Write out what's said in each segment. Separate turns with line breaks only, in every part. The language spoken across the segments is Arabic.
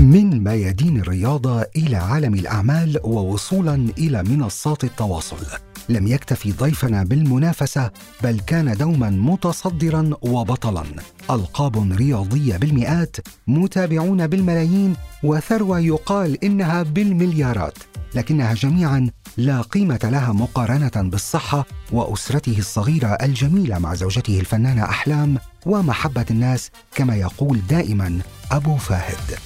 من ميادين الرياضة إلى عالم الأعمال ووصولا إلى منصات التواصل. لم يكتفي ضيفنا بالمنافسة بل كان دوما متصدرا وبطلا. ألقاب رياضية بالمئات، متابعون بالملايين، وثروة يقال إنها بالمليارات، لكنها جميعا لا قيمة لها مقارنة بالصحة وأسرته الصغيرة الجميلة مع زوجته الفنانة أحلام ومحبة الناس كما يقول دائما أبو فاهد.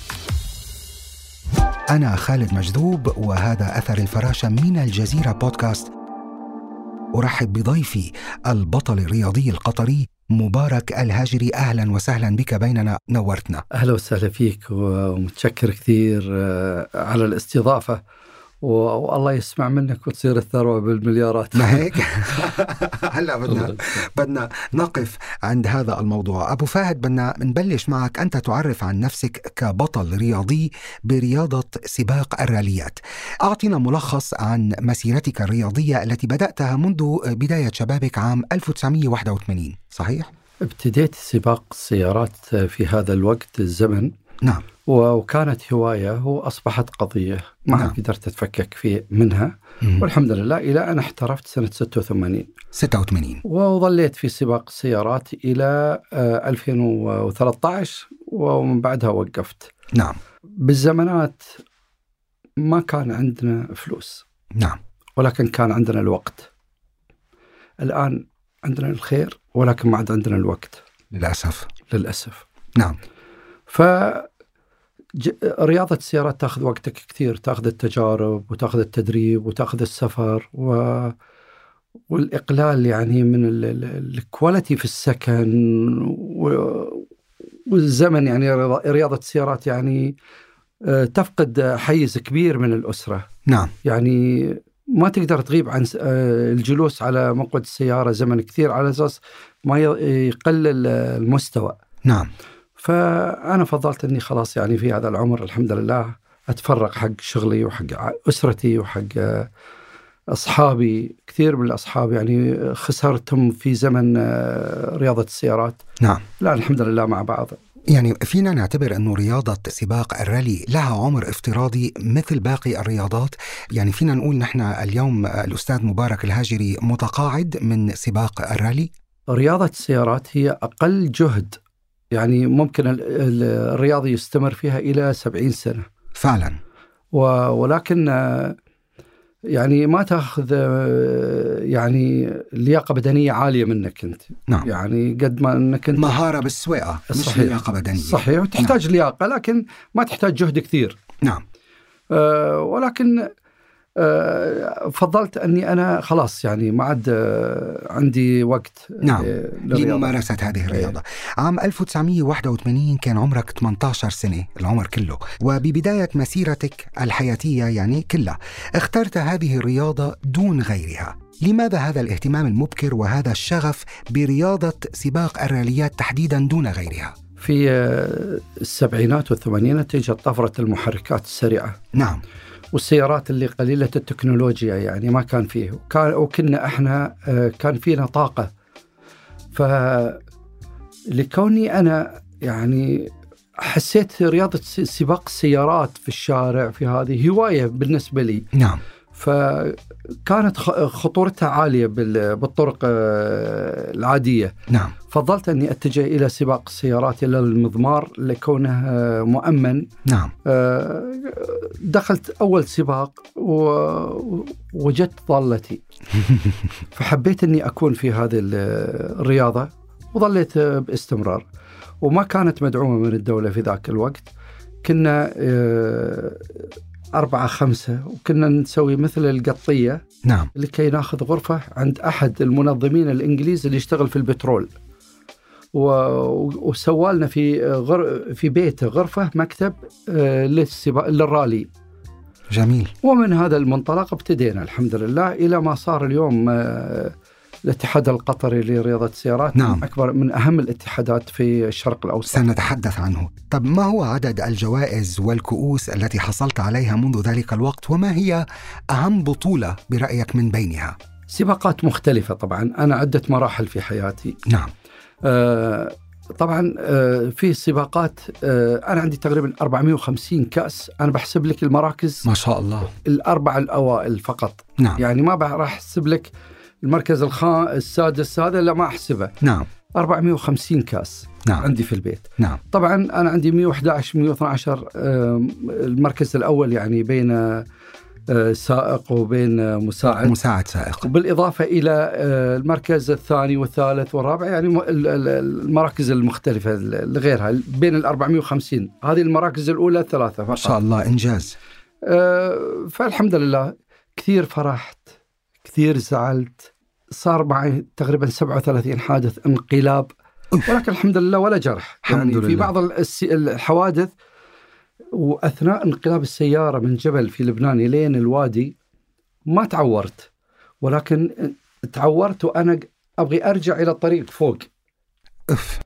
أنا خالد مجذوب وهذا أثر الفراشة من الجزيرة بودكاست. أرحب بضيفي البطل الرياضي القطري مبارك الهاجري أهلا وسهلا بك بيننا نورتنا.
أهلا وسهلا فيك ومتشكر كثير آه، على الاستضافة. والله يسمع منك وتصير الثروه بالمليارات نعم.
ما هيك؟ هلا بدنا بدنا نقف عند هذا الموضوع، ابو فهد بدنا نبلش معك انت تعرف عن نفسك كبطل رياضي برياضه سباق الراليات. اعطنا ملخص عن مسيرتك الرياضيه التي بداتها منذ بدايه شبابك عام 1981 صحيح؟
ابتديت سباق السيارات في هذا الوقت الزمن
نعم
وكانت هواية وأصبحت قضية ما نعم. قدرت أتفكك في منها مم. والحمد لله إلى أن احترفت سنة 86
86
وظليت في سباق السيارات إلى آه، 2013 ومن بعدها وقفت
نعم
بالزمانات ما كان عندنا فلوس
نعم
ولكن كان عندنا الوقت الآن عندنا الخير ولكن ما عاد عندنا الوقت
للأسف
للأسف
نعم
ف رياضة السيارات تاخذ وقتك كثير، تاخذ التجارب وتاخذ التدريب وتاخذ السفر و والاقلال يعني من الكواليتي في السكن و... والزمن يعني رياضة السيارات يعني تفقد حيز كبير من الأسرة
نعم
يعني ما تقدر تغيب عن آه، الجلوس على مقود السيارة زمن كثير على أساس ما يقلل المستوى
نعم
فانا فضلت اني خلاص يعني في هذا العمر الحمد لله اتفرغ حق شغلي وحق اسرتي وحق اصحابي كثير من الاصحاب يعني خسرتهم في زمن رياضه السيارات
نعم
لا الحمد لله مع بعض
يعني فينا نعتبر انه رياضه سباق الرالي لها عمر افتراضي مثل باقي الرياضات، يعني فينا نقول نحن اليوم الاستاذ مبارك الهاجري متقاعد من سباق الرالي؟
رياضه السيارات هي اقل جهد يعني ممكن الرياضي يستمر فيها الى 70 سنه
فعلا
و ولكن آه، يعني ما تاخذ يعني لياقه بدنيه عاليه منك انت
نعم
يعني قد ما انك انت
مهاره بالسواقه مش لياقه بدنيه
صحيح وتحتاج نعم. لياقه لكن ما تحتاج جهد كثير
نعم
أه ولكن آه، فضلت اني انا خلاص يعني ما عاد آه، عندي وقت آه،
نعم لممارسه هذه الرياضه. إيه. عام 1981 كان عمرك 18 سنه العمر كله وببدايه مسيرتك الحياتيه يعني كلها اخترت هذه الرياضه دون غيرها. لماذا هذا الاهتمام المبكر وهذا الشغف برياضه سباق الراليات تحديدا دون غيرها؟
في آه، السبعينات والثمانينات اجت طفره المحركات السريعه.
نعم.
والسيارات اللي قليله التكنولوجيا يعني ما كان فيه وكان وكنا احنا كان فينا طاقه ف لكوني انا يعني حسيت رياضه سباق السيارات في الشارع في هذه هوايه بالنسبه لي
نعم
فكانت خطورتها عاليه بالطرق العاديه
نعم
فضلت اني اتجه الى سباق السيارات الى المضمار لكونه آه، مؤمن
نعم
آه، دخلت اول سباق ووجدت ضالتي فحبيت اني اكون في هذه الرياضه وظليت باستمرار وما كانت مدعومه من الدوله في ذاك الوقت كنا آه، أربعة خمسة وكنا نسوي مثل القطية
نعم
لكي ناخذ غرفة عند أحد المنظمين الإنجليز اللي يشتغل في البترول و... وسوالنا في غر... في بيته غرفة مكتب آه، للسبا... للرالي
جميل
ومن هذا المنطلق ابتدينا الحمد لله إلى ما صار اليوم آه، الاتحاد القطري لرياضة السيارات
نعم.
من أكبر من أهم الاتحادات في الشرق الأوسط
سنتحدث عنه طب ما هو عدد الجوائز والكؤوس التي حصلت عليها منذ ذلك الوقت وما هي أهم بطولة برأيك من بينها؟
سباقات مختلفة طبعا أنا عدة مراحل في حياتي
نعم
آه طبعا آه، في سباقات آه، انا عندي تقريبا 450 كاس انا بحسب لك المراكز
ما شاء الله
الاربعه الاوائل فقط
نعم
يعني ما بح- راح احسب لك المركز الخا السادس هذا لا ما احسبه
نعم
450 كاس
نعم
عندي في البيت
نعم
طبعا انا عندي 111 112 آم، المركز الاول يعني بين آه، سائق وبين آه، مساعد
مساعد سائق
بالإضافة طيب. إلى آه، المركز الثاني والثالث والرابع يعني م- ال- ال- المراكز المختلفة ال- غيرها بين ال 450 هذه المراكز الأولى ثلاثة
ما
فقط
شاء الله إنجاز
آه، فالحمد لله كثير فرحت كثير زعلت صار معي تقريبا 37 حادث انقلاب ولكن الحمد لله ولا جرح
الحمد
يعني في
لله.
بعض الس- الحوادث واثناء انقلاب السياره من جبل في لبنان لين الوادي ما تعورت ولكن تعورت وانا ابغي ارجع الى الطريق فوق
أف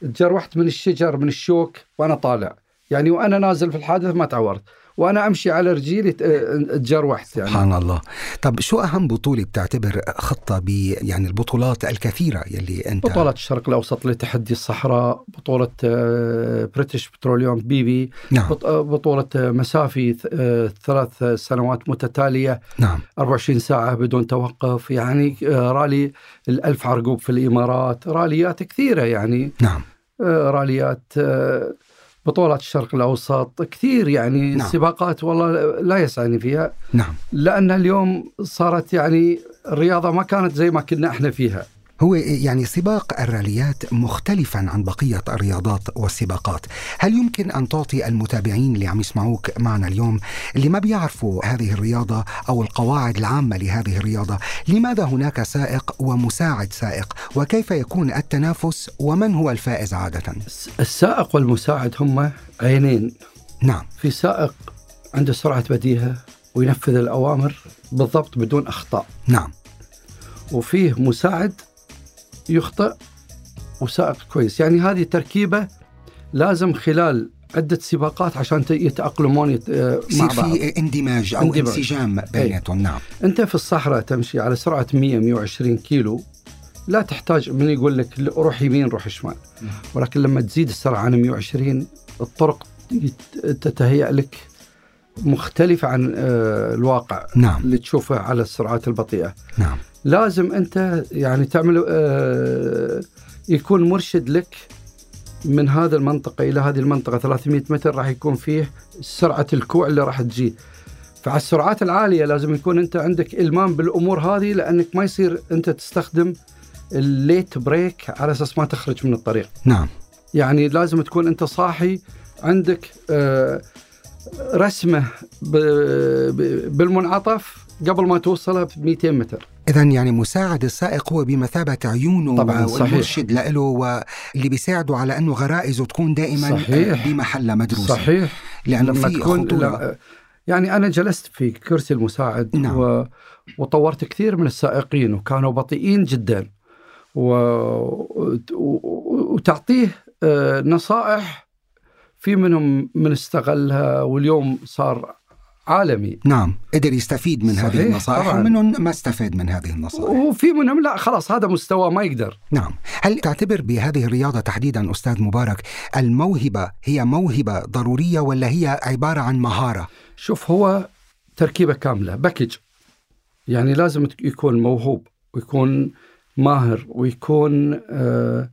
تجروحت من الشجر من الشوك وانا طالع يعني وانا نازل في الحادث ما تعورت وانا امشي على رجلي ت- تجروحت يعني
سبحان الله طب شو أهم بطولة بتعتبر خطة ب يعني البطولات الكثيرة يلي أنت
بطولة الشرق الأوسط لتحدي الصحراء بطولة آه، بريتش بتروليوم بيبي
نعم
بط- آه، بطولة آه، مسافي ث- آه، ثلاث سنوات متتالية
نعم
24 ساعة بدون توقف يعني آه، رالي الألف عرقوب في الإمارات راليات كثيرة يعني
نعم
آه، راليات آه، بطولات الشرق الأوسط كثير يعني
نعم.
نعم. سباقات والله لا يسعني فيها
نعم
لأن اليوم صارت يعني الرياضة ما كانت زي ما كنا احنا فيها
هو يعني سباق الراليات مختلفا عن بقية الرياضات والسباقات هل يمكن أن تعطي المتابعين اللي عم يسمعوك معنا اليوم اللي ما بيعرفوا هذه الرياضة أو القواعد العامة لهذه الرياضة لماذا هناك سائق ومساعد سائق وكيف يكون التنافس ومن هو الفائز عادة
الس- السائق والمساعد هم عينين
نعم
في سائق عنده سرعة بديهة وينفذ الأوامر بالضبط بدون أخطاء
نعم
وفيه مساعد يخطئ وسائق كويس يعني هذه تركيبة لازم خلال عدة سباقات عشان ت- يتأقلمون يت... آه، مع
يصير
بعض
في اندماج أو
اندماج. إيه.
انسجام بيناتهم نعم
انت في الصحراء تمشي على سرعه 100 120 كيلو لا تحتاج من يقول لك ل- روح يمين روح شمال
نعم.
ولكن لما تزيد السرعه عن 120 الطرق يت- تتهيأ لك مختلفه عن آه، الواقع
نعم
اللي تشوفه على السرعات البطيئه
نعم
لازم انت يعني تعمل آه، يكون مرشد لك من هذا المنطقة إلى هذه المنطقة 300 متر راح يكون فيه سرعة الكوع اللي راح تجي فعلى السرعات العالية لازم يكون أنت عندك إلمام بالأمور هذه لأنك ما يصير أنت تستخدم الليت بريك على أساس ما تخرج من الطريق
نعم
يعني لازم تكون أنت صاحي عندك آه، رسمة ب- ب- بالمنعطف قبل ما توصله ب 200 متر
إذا يعني مساعد السائق هو بمثابة عيونه
طبعاً، صحيح.
والمرشد له واللي بيساعده على أنه غرائزه تكون دائما
صحيح.
بمحلها مدروسة
صحيح
لأنه
لما
في
تكون
خطورة
لا- يعني انا جلست في كرسي المساعد
نعم.
و... وطورت كثير من السائقين وكانوا بطيئين جدا و... وت- و... وتعطيه آه، نصائح في منهم من استغلها واليوم صار عالمي
نعم قدر يستفيد من هذه
صحيح،
النصائح
طبعاً.
ومنهم ما استفاد من هذه النصائح
وفي منهم لا خلاص هذا مستوى ما يقدر
نعم هل تعتبر بهذه الرياضة تحديدا أستاذ مبارك الموهبة هي موهبة ضرورية ولا هي عبارة عن مهارة
شوف هو تركيبه كامله باكج يعني لازم تك- يكون موهوب ويكون ماهر ويكون آه،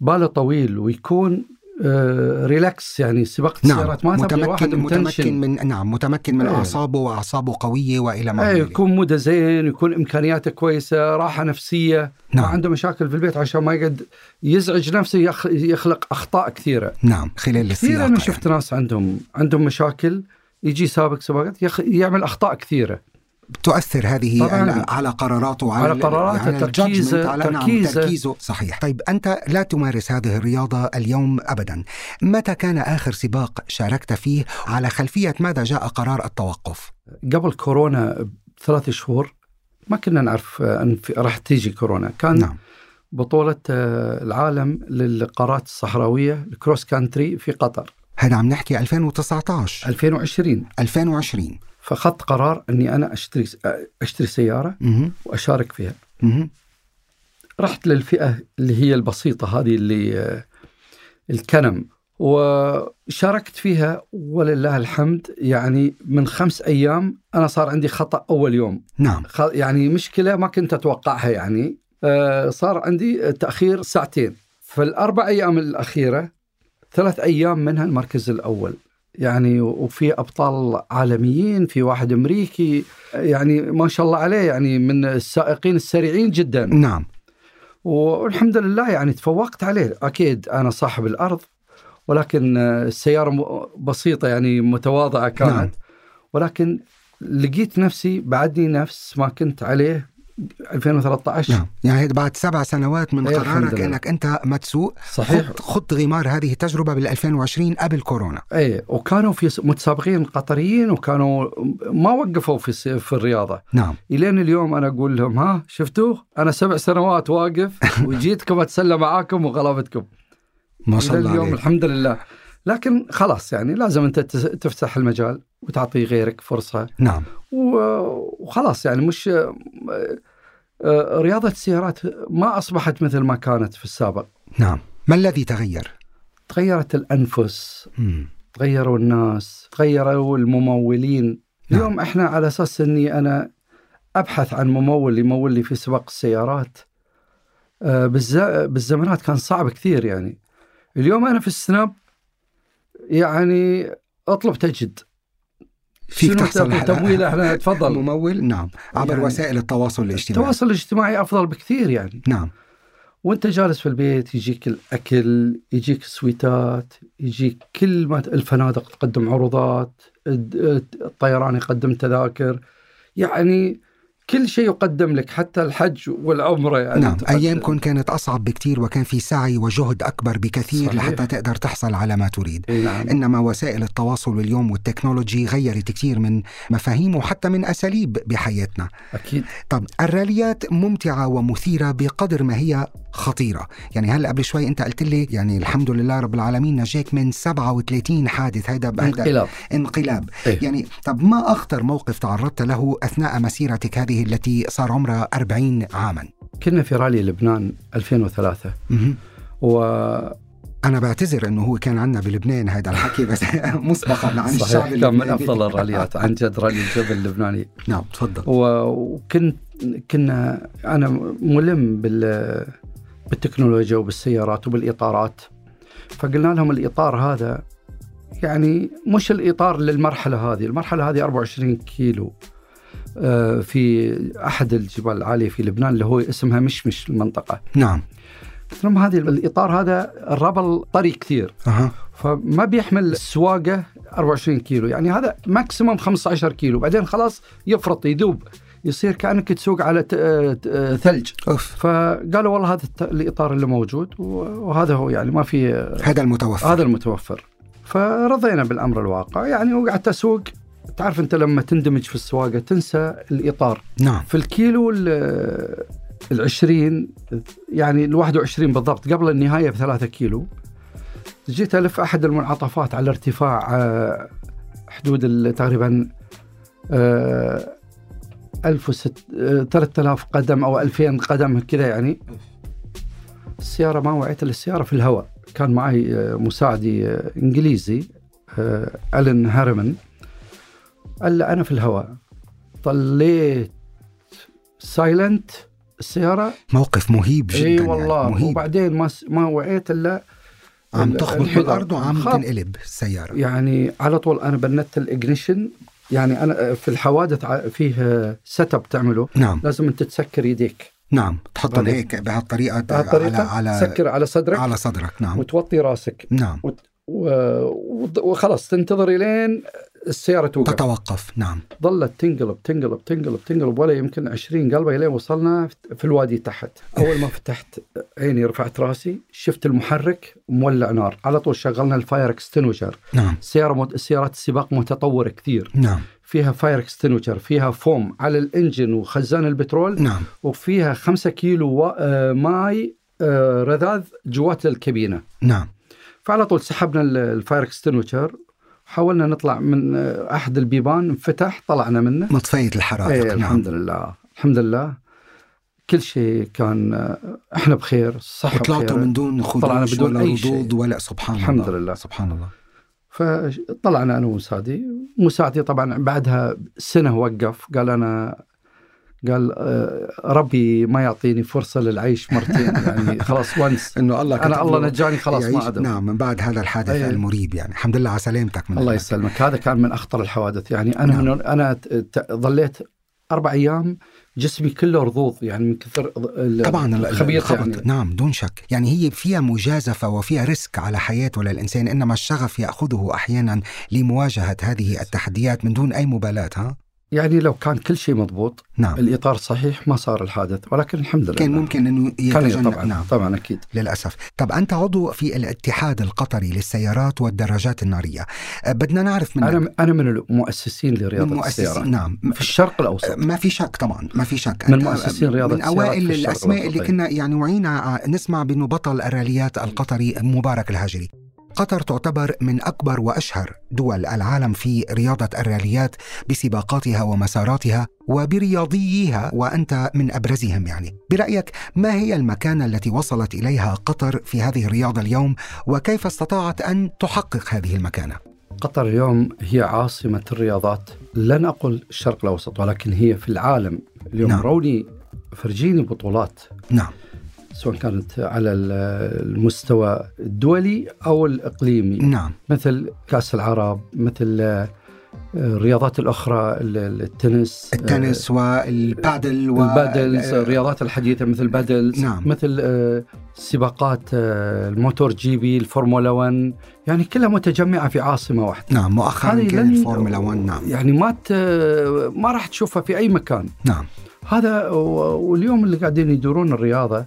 باله طويل ويكون آه، ريلاكس يعني سباق
نعم
السيارات ما تبغى واحد
متمكن متمكن
متنشن
من نعم متمكن من
إيه.
أعصابه وأعصابه قوية وإلى ما
أي
هنالك.
إيه، يكون موده زين يكون امكانياته كويسه راحه نفسيه ما
نعم
عنده مشاكل في البيت عشان ما يقعد يزعج نفسه يخ- يخلق اخطاء كثيره
نعم خلال السياق
كثير انا
يعني.
شفت ناس عندهم عندهم مشاكل يجي سابق سباقات يخ- يعمل اخطاء كثيره
تؤثر هذه
طبعاً.
على- على قراراته وعلى
على قراراته،
على ال
تركيزه-
judgment، على نعم،
تركيزه.
تركيزه صحيح طيب أنت لا تمارس هذه الرياضة اليوم أبدا متى كان آخر سباق شاركت فيه على خلفية ماذا جاء قرار التوقف
قبل كورونا بثلاث شهور ما كنا نعرف آه، ان في- راح تيجي كورونا كان نعم.
نعم
بطولة آه، العالم للقارات الصحراوية الكروس كانتري في قطر
هذا عم نحكي 2019
2020
2020
فخذت قرار اني انا اشتري آه، اشتري سيارة
مهم.
واشارك فيها
مهم.
رحت للفئة اللي هي البسيطة هذه اللي آه، الكلم وشاركت فيها ولله الحمد يعني من خمس أيام أنا صار عندي خطأ أول يوم
نعم
خ- يعني مشكلة ما كنت أتوقعها يعني آه، صار عندي تأخير ساعتين فالأربع أيام الأخيرة ثلاث أيام منها المركز الأول يعني وفي أبطال عالميين في واحد أمريكي يعني ما شاء الله عليه يعني من السائقين السريعين جدا
نعم
والحمد لله يعني تفوقت عليه اكيد انا صاحب الارض ولكن آه، السياره م- بسيطه يعني متواضعه كانت
نعم.
نعم. ولكن لقيت نفسي بعدني نفس ما كنت عليه 2013
نعم يعني بعد سبع سنوات من
إيه، الحمد
قرارك
لله.
انك انت ما تسوق
صحيح
خط, خط غمار هذه التجربه بال 2020 قبل كورونا
اي إيه. وكانوا في س- متسابقين قطريين وكانوا ما وقفوا في الس- في الرياضه
نعم
الين اليوم انا اقول لهم ها شفتوه انا سبع سنوات واقف وجيتكم اتسلى معاكم وغلبتكم
ما شاء
إلى
الله
اليوم
عليك
الحمد لله لكن خلاص يعني لازم انت تس- تفتح المجال وتعطي غيرك فرصه
نعم
و- وخلاص يعني مش آه، آه، رياضه السيارات ما اصبحت مثل ما كانت في السابق
نعم ما الذي تغير؟
تغيرت الانفس
مم.
تغيروا الناس تغيروا الممولين
نعم.
اليوم احنا على اساس اني انا ابحث عن ممول يمول لي في سباق السيارات آه، بالز- بالزمانات كان صعب كثير يعني اليوم انا في السناب يعني اطلب تجد
فيك
شنو
تحصل
تبغى
على-
تمويل احنا تفضل
ممول نعم عبر
يعني-
وسائل التواصل الاجتماعي
التواصل الاجتماعي افضل بكثير يعني
نعم
وانت جالس في البيت يجيك الاكل يجيك سويتات يجيك كل ما ت- الفنادق تقدم عروضات الد- الت- الطيران يقدم تذاكر يعني كل شيء يقدم لك حتى الحج والعمره يعني
نعم
تقدم.
أيامكم كانت أصعب بكتير وكان في سعي وجهد أكبر بكثير
صحيح.
لحتى تقدر تحصل على ما تريد
إي نعم
إنما وسائل التواصل اليوم والتكنولوجي غيرت كتير من مفاهيم وحتى من أساليب بحياتنا
اكيد
طب الراليات ممتعة ومثيرة بقدر ما هي خطيرة يعني هلا قبل شوي أنت قلت لي يعني الحمد لله رب العالمين نجاك من 37 حادث هيدا هيدا
انقلاب
انقلاب
إيه.
يعني طب ما أخطر موقف تعرضت له أثناء مسيرتك هذه التي صار عمرها 40 عاما
كنا في رالي لبنان 2003
مهم.
و
أنا بعتذر إنه هو كان عندنا بلبنان هذا الحكي بس مسبقا عن الشعب
صحيح كان من
اللبناني.
افضل الراليات عن جد رالي الجبل اللبناني
نعم تفضل
و- وكنت كنا انا ملم بال بالتكنولوجيا وبالسيارات وبالاطارات فقلنا لهم الاطار هذا يعني مش الاطار للمرحله هذه، المرحله هذه 24 كيلو آه، في احد الجبال العاليه في لبنان اللي هو اسمها مشمش المنطقه،
نعم
قلت لهم هذه الاطار هذا الربل طري كثير
أها
فما بيحمل السواقه 24 كيلو يعني هذا ماكسيموم 15 كيلو بعدين خلاص يفرط يذوب يصير كانك تسوق على ت- آه، ت- آه، ثلج
أوف
فقالوا والله هذا الت- الاطار اللي موجود و- وهذا هو يعني ما في آه،
هذا المتوفر
هذا المتوفر فرضينا بالامر الواقع يعني وقعدت اسوق تعرف انت لما تندمج في السواقه تنسى الاطار
نعم
في الكيلو ال ال 20 يعني ال 21 بالضبط قبل النهايه بثلاثة كيلو جيت الف احد المنعطفات على ارتفاع آه، حدود ال- تقريبا آه، 1000 3000 قدم او 2000 قدم كذا يعني السياره ما وعيت الا السياره في الهواء كان معي آه، مساعدي آه، انجليزي آه، الن هارمن قال لي انا في الهواء طليت سايلنت السياره
موقف مهيب جدا
اي والله
يعني مهيب
وبعدين ما س- ما وعيت الا
عم
ال-
تخبط
الحذاء.
بالأرض وعم
خط.
تنقلب السيارة
يعني على طول انا بندت الاجنيشن يعني انا في الحوادث ع- فيه سيت اب تعمله
نعم
لازم انت تسكر يديك
نعم تحطهم
بعدين.
هيك بهالطريقة على
بهالطريقه
على
تسكر على صدرك
على صدرك نعم
وتوطي راسك
نعم
وت- و... وض- وخلاص تنتظر الين السياره توقف
تتوقف نعم
ظلت تنقلب تنقلب تنقلب تنقلب ولا يمكن 20 قلبه الين وصلنا في الوادي تحت اول ما فتحت عيني رفعت راسي شفت المحرك مولع نار على طول شغلنا الفاير اكستنوجر
نعم
سياره مت... سيارات السباق متطوره كثير
نعم
فيها فاير اكستنوجر فيها فوم على الانجن وخزان البترول
نعم
وفيها خمسة كيلو و... آه، ماي آه، رذاذ جوات الكابينه
نعم
فعلى طول سحبنا ال- الفاير اكستنوجر حاولنا نطلع من آه، احد البيبان انفتح طلعنا منه
مطفية الحرائق
ايه
نعم
الحمد لله الحمد لله كل شيء كان احنا بخير الصحه
وطلعتوا
بخير
من دون
طلعنا
خدوش
بدون
ولا
أي شيء.
ردود ولا سبحان
الحمد
الله
لله.
سبحان الله
فطلعنا انا ومساعدي مساعدي طبعا بعدها سنه وقف قال انا قال آه، ربي ما يعطيني فرصه للعيش مرتين يعني خلاص ونس
انه الله كتب
انا الله
له
نجاني خلاص
يعيش-
ما ادم
نعم من بعد هذا الحادث
أي.
المريب يعني الحمد لله على سلامتك من
الله
هناك.
يسلمك هذا كان من اخطر الحوادث يعني انا
نعم.
من انا ت- ت- ظليت اربع ايام جسمي كله رضوض يعني من كثر ال-
طبعا ال- ال-
خبيط
الخبط
يعني.
نعم دون شك يعني هي فيها مجازفة وفيها ريسك على حياته للإنسان إنما الشغف يأخذه أحيانا لمواجهة هذه التحديات من دون أي مبالاة ها
يعني لو كان كل شيء مضبوط
نعم
الاطار صحيح ما صار الحادث ولكن الحمد لله
كان ممكن أنه
كان
يتجنب
طبعا
نعم
طبعا اكيد
للأسف طب أنت عضو في الاتحاد القطري للسيارات والدراجات النارية أه، بدنا نعرف منك
انا انا من المؤسسين لرياضه
من
السيارات
مؤسسين نعم
في الشرق الاوسط
ما في شك طبعا ما في شك
من
أنت
مؤسسين رياضة
من
السيارات
اوائل
في الشرق
الاسماء اللي
الأوسط. طيب.
كنا يعني وعينا ع- نسمع بانه بطل الراليات القطري مبارك الهجري قطر تعتبر من اكبر واشهر دول العالم في رياضه الراليات بسباقاتها ومساراتها وبرياضيها وانت من ابرزهم يعني برايك ما هي المكانه التي وصلت اليها قطر في هذه الرياضه اليوم وكيف استطاعت ان تحقق هذه المكانه
قطر اليوم هي عاصمه الرياضات لن اقول الشرق الاوسط ولكن هي في العالم اليوم
نعم.
نعم. روني فرجيني بطولات
نعم
سواء كانت على ال- المستوى الدولي او الاقليمي
نعم
مثل كاس العرب مثل آه، الرياضات الاخرى ال- ال- التنس
التنس والبادل
آه،
و...
البادلز الرياضات الحديثه مثل بادلز
نعم.
مثل آه، سباقات آه، الموتور جي بي الفورمولا 1 يعني كلها متجمعه في عاصمه واحده
نعم مؤخرا
هذه
كان
لن-
الفورمولا 1 نعم
يعني ما ت... ما راح تشوفها في اي مكان
نعم
هذا و- واليوم اللي قاعدين يدورون الرياضه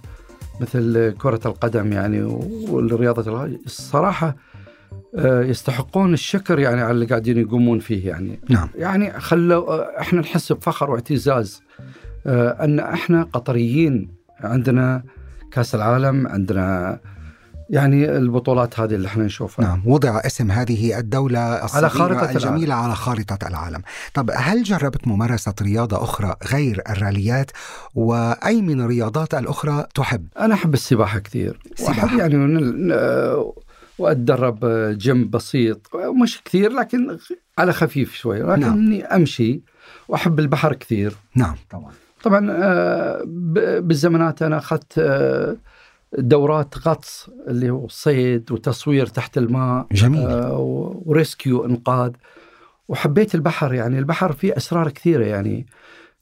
مثل كره القدم يعني والرياضه الغ- الصراحه آه، يستحقون الشكر يعني على اللي قاعدين يقومون فيه يعني
نعم
يعني خلوا آه، احنا نحس بفخر واعتزاز آه، ان احنا قطريين عندنا كاس العالم عندنا يعني البطولات هذه اللي احنا نشوفها
نعم وضع اسم هذه الدولة الصغيرة
خارطة
الجميلة على خارطة العالم طب هل جربت ممارسة رياضة أخرى غير الراليات وأي من الرياضات الأخرى تحب
انا احب السباحه كثير
السباحة.
وأحب يعني ن- ن- واتدرب جيم بسيط مش كثير لكن على خفيف شوي
نعم.
لكني امشي واحب البحر كثير
نعم طبعا
طبعا آه، ب- بالزمانات انا اخذت آه، دورات غطس اللي هو صيد وتصوير تحت الماء
جميل
آه، و- وريسكيو انقاذ وحبيت البحر يعني البحر فيه اسرار كثيره يعني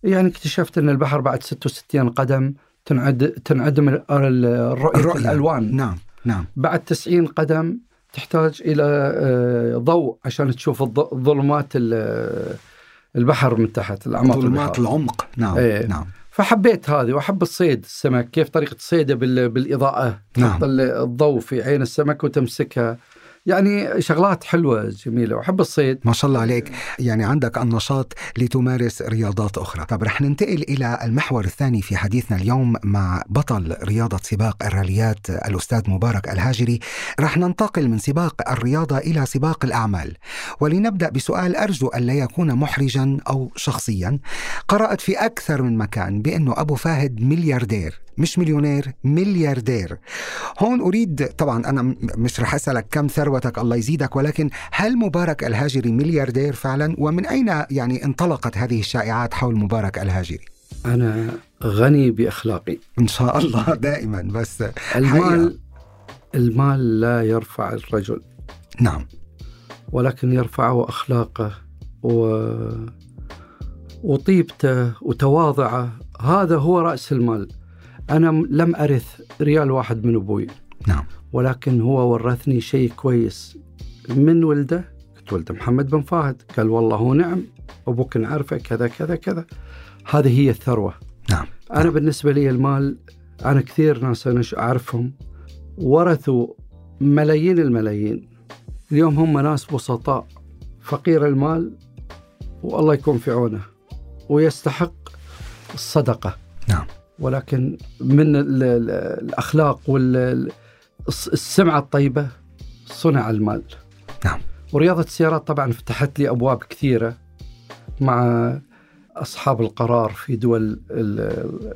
يعني اكتشفت ان البحر بعد 66 قدم تنعد تنعدم ال- ال- الرؤيه
الرؤية.
الالوان
نعم نعم
بعد 90 قدم تحتاج الى آه، ضوء عشان تشوف الض- ظلمات ال- البحر من تحت الاعماق
ظلمات
البحر
العمق نعم
إيه.
نعم
فحبيت هذه واحب الصيد السمك كيف طريقه صيده بال- بالاضاءه
نعم
تحط ال- الضوء في عين السمك وتمسكها يعني شغلات حلوه جميله واحب الصيد
طيب، ما شاء الله عليك يعني عندك النشاط لتمارس رياضات أخرى طب رح ننتقل إلى المحور الثاني في حديثنا اليوم مع بطل رياضة سباق الراليات الأستاذ مبارك الهاجري رح ننتقل من سباق الرياضة إلى سباق الأعمال ولنبدأ بسؤال أرجو أن لا يكون محرجا أو شخصيا قرأت في أكثر من مكان بأنه أبو فهد ملياردير مش مليونير ملياردير هون أريد طبعا أنا م- مش رح أسألك كم ثروتك الله يزيدك ولكن هل مبارك الهاجري ملياردير فعلا ومن أين يعني انطلقت هذه الشائعات حول مبارك الهاجري
انا غني باخلاقي
إن شاء الله دائما بس
المال المال لا يرفع الرجل
نعم
ولكن يرفعه اخلاقه و وطيبته وتواضعه هذا هو راس المال انا م- لم ارث ريال واحد من ابوي
نعم
ولكن هو ورثني شيء كويس من ولده قلت ولده محمد بن فهد قال والله هو نعم ابوك نعرفه كذا كذا كذا هذه هي الثروه
نعم.
انا بالنسبه لي المال انا كثير ناس انا ش- اعرفهم ورثوا ملايين الملايين اليوم هم ناس بسطاء فقير المال والله يكون في عونه ويستحق الصدقه
نعم.
ولكن من ال- ال- الاخلاق وال الس- السمعة الطيبة صنع المال
نعم.
ورياضة السيارات طبعا فتحت لي أبواب كثيرة مع أصحاب القرار في دول ال-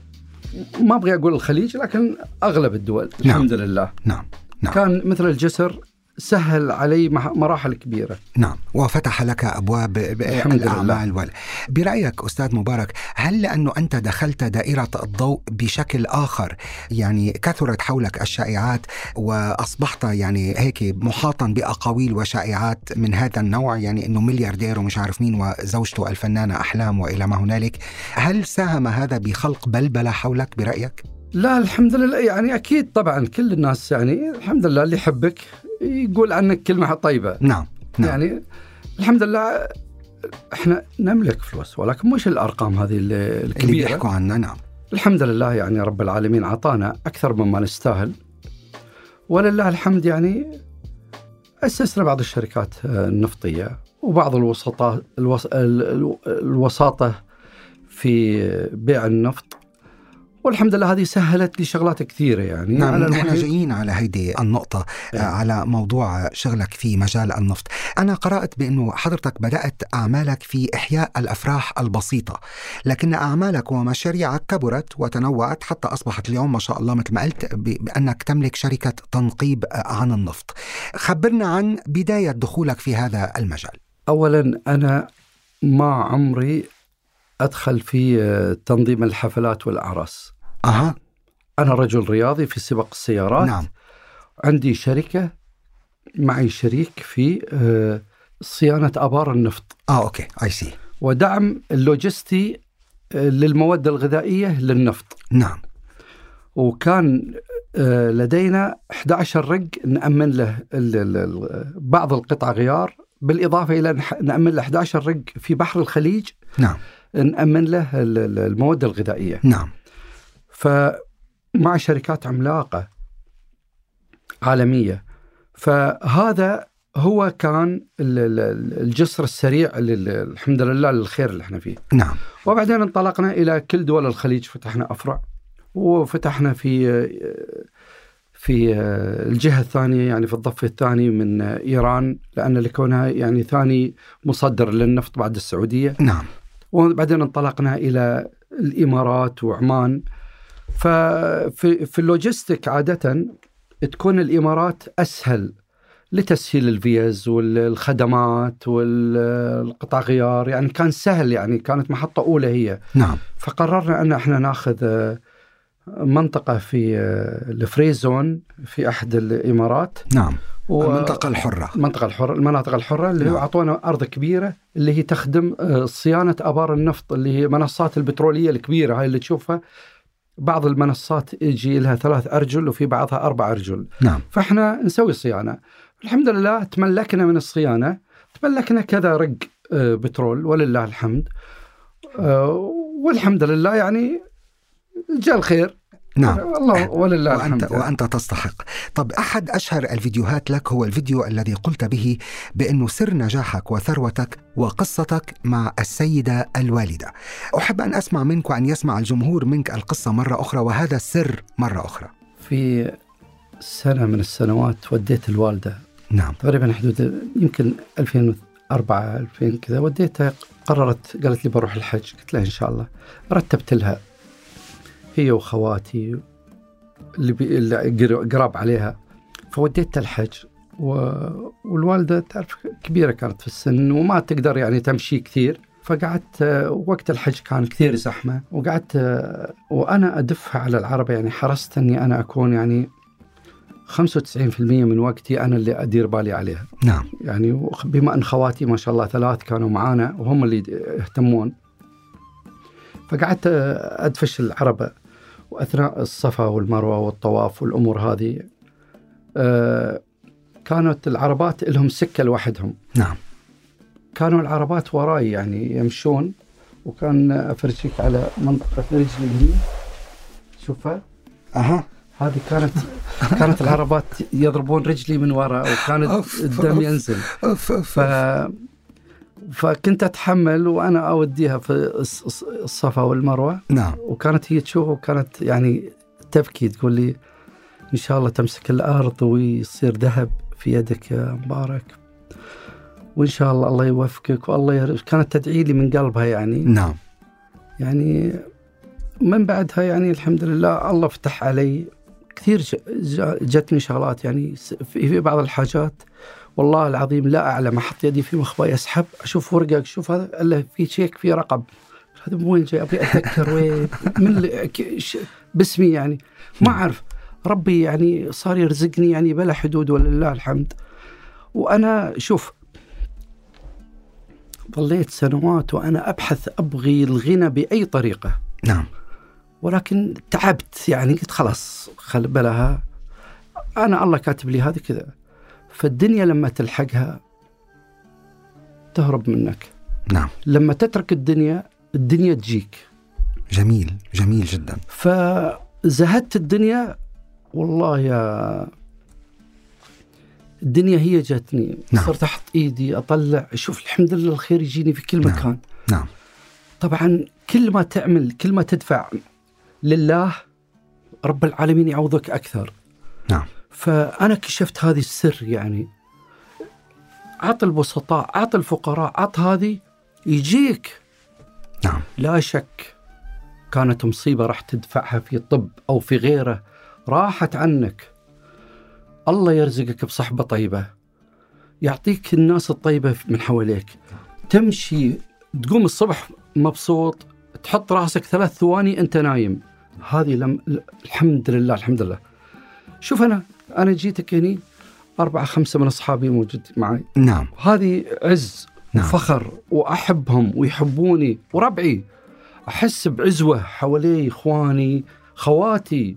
ما ابغى اقول الخليج لكن اغلب الدول
نعم.
الحمد لله
نعم نعم.
كان مثل الجسر سهل علي مح- مراحل كبيره
نعم وفتح لك أبواب ب-
الحمد لله.
الأعمال وال... برأيك أستاذ مبارك هل لأنه أنت دخلت دائرة الضوء بشكل آخر يعني كثرت حولك الشائعات وأصبحت يعني هيك محاطا بأقاويل وشائعات من هذا النوع يعني أنه ملياردير ومش عارف مين وزوجته الفنانة أحلام وإلى ما هنالك هل ساهم هذا بخلق بلبلة حولك برأيك؟
لا الحمد لله يعني اكيد طبعا كل الناس يعني الحمد لله اللي يحبك يقول عنك كلمه طيبه
نعم نعم.
يعني الحمد لله احنا نملك فلوس ولكن مش الارقام هذه ال-
اللي
الكبيره
بيحكوا عنه نعم
الحمد لله يعني رب العالمين عطانا اكثر مما نستاهل ولله الحمد يعني اسسنا بعض الشركات آه، النفطيه وبعض الوسطاء الوس ال- ال- الوساطه في بيع النفط والحمد لله هذه سهلت لي شغلات كثيره يعني
نعم
أنا
نحن
الوحيد-
جايين على هيدي النقطة آه،
إيه.
على موضوع شغلك في مجال النفط أنا قرأت بأنه حضرتك بدأت أعمالك في إحياء الأفراح البسيطة لكن أعمالك ومشاريعك كبرت وتنوعت حتى أصبحت اليوم ما شاء الله مثل ما قلت ب- بأنك تملك شركة تنقيب آه، عن النفط خبرنا عن بداية دخولك في هذا المجال
اولا انا ما عمري ادخل في آه، تنظيم الحفلات والاعراس
أها
انا رجل رياضي في سباق السيارات
نعم
عندي شركة معي شريك في آه، صيانة أبار النفط
آه أوكي أي سي
ودعم اللوجستي آه، للمواد الغذائية للنفط
نعم
وكان آه، لدينا 11 رق نأمن له ال- ال- ال- بعض القطع غيار بالإضافة إلى نح- نأمن له 11 رق في بحر الخليج
نعم
نأمن له ال- ال- المواد الغذائية
نعم
فمع شركات عملاقة عالمية فهذا هو كان ال- ال- الجسر السريع لل- الحمد لله للخير اللي احنا فيه
نعم
وبعدين انطلقنا إلى كل دول الخليج فتحنا أفرع وفتحنا في في الجهة الثانية يعني في الضفة الثاني من إيران لأن لكونها يعني ثاني مصدر للنفط بعد السعودية
نعم
وبعدين انطلقنا الى الامارات وعمان ففي في اللوجيستيك عاده تكون الامارات اسهل لتسهيل الفيز والخدمات والقطع غيار يعني كان سهل يعني كانت محطه اولى هي
نعم
فقررنا ان احنا ناخذ آه، منطقه في آه، الفريزون في احد الامارات
نعم
و-
المنطقة الحرة
المنطقة الحرة المناطق الحرة اللي
نعم.
هو أعطونا أرض كبيرة اللي هي تخدم آه، صيانة أبار النفط اللي هي منصات البترولية الكبيرة هاي اللي تشوفها بعض المنصات يجي لها ثلاث أرجل وفي بعضها أربع أرجل
نعم
فإحنا نسوي صيانة الحمد لله تملكنا من الصيانة تملكنا كذا رق آه، بترول ولله الحمد آه، والحمد لله يعني جاء الخير
نعم
الله ولله
وأنت,
الحمد
وأنت تستحق طب أحد أشهر الفيديوهات لك هو الفيديو الذي قلت به بأنه سر نجاحك وثروتك وقصتك مع السيدة الوالدة أحب أن أسمع منك وأن يسمع الجمهور منك القصة مرة أخرى وهذا السر مرة أخرى
في سنة من السنوات وديت الوالدة
نعم
تقريبا حدود يمكن 2004 2000 كذا وديتها قررت قالت لي بروح الحج قلت لها ان شاء الله رتبت لها هي واخواتي اللي, بي... اللي قر- قراب عليها فوديتها الحج و... والوالده تعرف كبيره كانت في السن وما تقدر يعني تمشي كثير فقعدت آه، وقت الحج كان كثير زحمه وقعدت آه، وانا ادفها على العربه يعني حرصت اني انا اكون يعني 95% من وقتي انا اللي ادير بالي عليها
نعم
يعني وخ- بما ان خواتي ما شاء الله ثلاث كانوا معانا وهم اللي يهتمون فقعدت آه، ادفش العربه واثناء الصفا والمروه والطواف والامور هذه آه، كانت العربات لهم سكه لوحدهم
نعم
كانوا العربات وراي يعني يمشون وكان افرجيك على منطقه رجلي هنا شوفها
أها
هذه كانت كانت العربات يضربون رجلي من وراء وكانت
أوف،
الدم
أوف.
ينزل
أوف أوف
ف فكنت اتحمل وانا اوديها في الص- الص- الصفا والمروه
نعم
وكانت هي تشوف وكانت يعني تبكي تقول لي ان شاء الله تمسك الارض ويصير ذهب في يدك يا مبارك وان شاء الله الله يوفقك والله يرزقك كانت تدعي لي من قلبها يعني
نعم
يعني من بعدها يعني الحمد لله الله فتح علي كثير ج- ج- جتني شغلات يعني س- في في بعض الحاجات والله العظيم لا اعلم احط يدي في مخباي اسحب اشوف ورقه اشوف هذا الا في شيك في رقم هذا من وين جاي ابي اتذكر وين من اللي- ك- ش- باسمي يعني ما اعرف ربي يعني صار يرزقني يعني بلا حدود ولله الحمد وانا شوف ظليت سنوات وانا ابحث ابغي الغنى باي طريقه
نعم
ولكن تعبت يعني قلت خلاص خل بلاها انا الله كاتب لي هذا كذا فالدنيا لما تلحقها تهرب منك
نعم
لما تترك الدنيا الدنيا تجيك
جميل جميل جدا
فزهدت الدنيا والله يا الدنيا هي جاتني
نعم.
صرت احط ايدي اطلع اشوف الحمد لله الخير يجيني في كل
نعم.
مكان
نعم
طبعا كل ما تعمل كل ما تدفع لله رب العالمين يعوضك اكثر
نعم
فانا كشفت هذه السر يعني اعط البسطاء اعط الفقراء اعط هذه يجيك
نعم
لا شك كانت مصيبه راح تدفعها في طب او في غيره راحت عنك الله يرزقك بصحبه طيبه يعطيك الناس الطيبه من حواليك تمشي تقوم الصبح مبسوط تحط راسك ثلاث ثواني انت نايم هذه لم... الحمد لله الحمد لله شوف انا انا جيتك هني اربعه خمسه من اصحابي موجود معي
نعم
هذه عز
نعم.
نعم. وفخر واحبهم ويحبوني وربعي احس بعزوه حوالي اخواني خواتي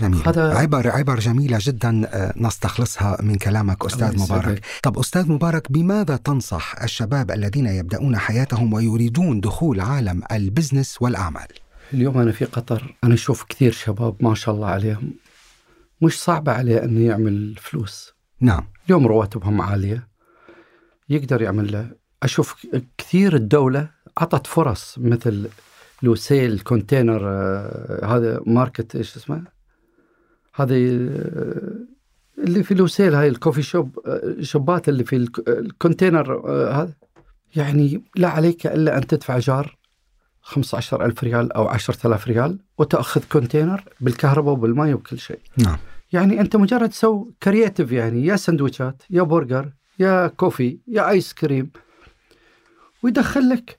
جميل
هذا-
عبر عبر جميلة جدا آه، نستخلصها من كلامك أستاذ
الله
مبارك
يسعدك.
طب أستاذ مبارك بماذا تنصح الشباب الذين يبدأون حياتهم ويريدون دخول عالم البزنس والأعمال
اليوم انا في قطر انا اشوف كثير شباب ما شاء الله عليهم مش صعبه عليه انه يعمل فلوس
نعم
اليوم رواتبهم عاليه يقدر يعمل له اشوف ك- كثير الدوله عطت فرص مثل لوسيل كونتينر آه، هذا ماركت ايش اسمه؟ هذه آه، اللي في لوسيل هاي الكوفي شوب آه، شوبات اللي في الك- الكونتينر آه، هذا يعني لا عليك الا ان تدفع ايجار 15000 ريال او 10000 ريال وتاخذ كونتينر بالكهرباء وبالماء وبكل شيء
نعم
يعني انت مجرد تسوي كرياتيف يعني يا سندويشات يا برجر يا كوفي يا ايس كريم ويدخل لك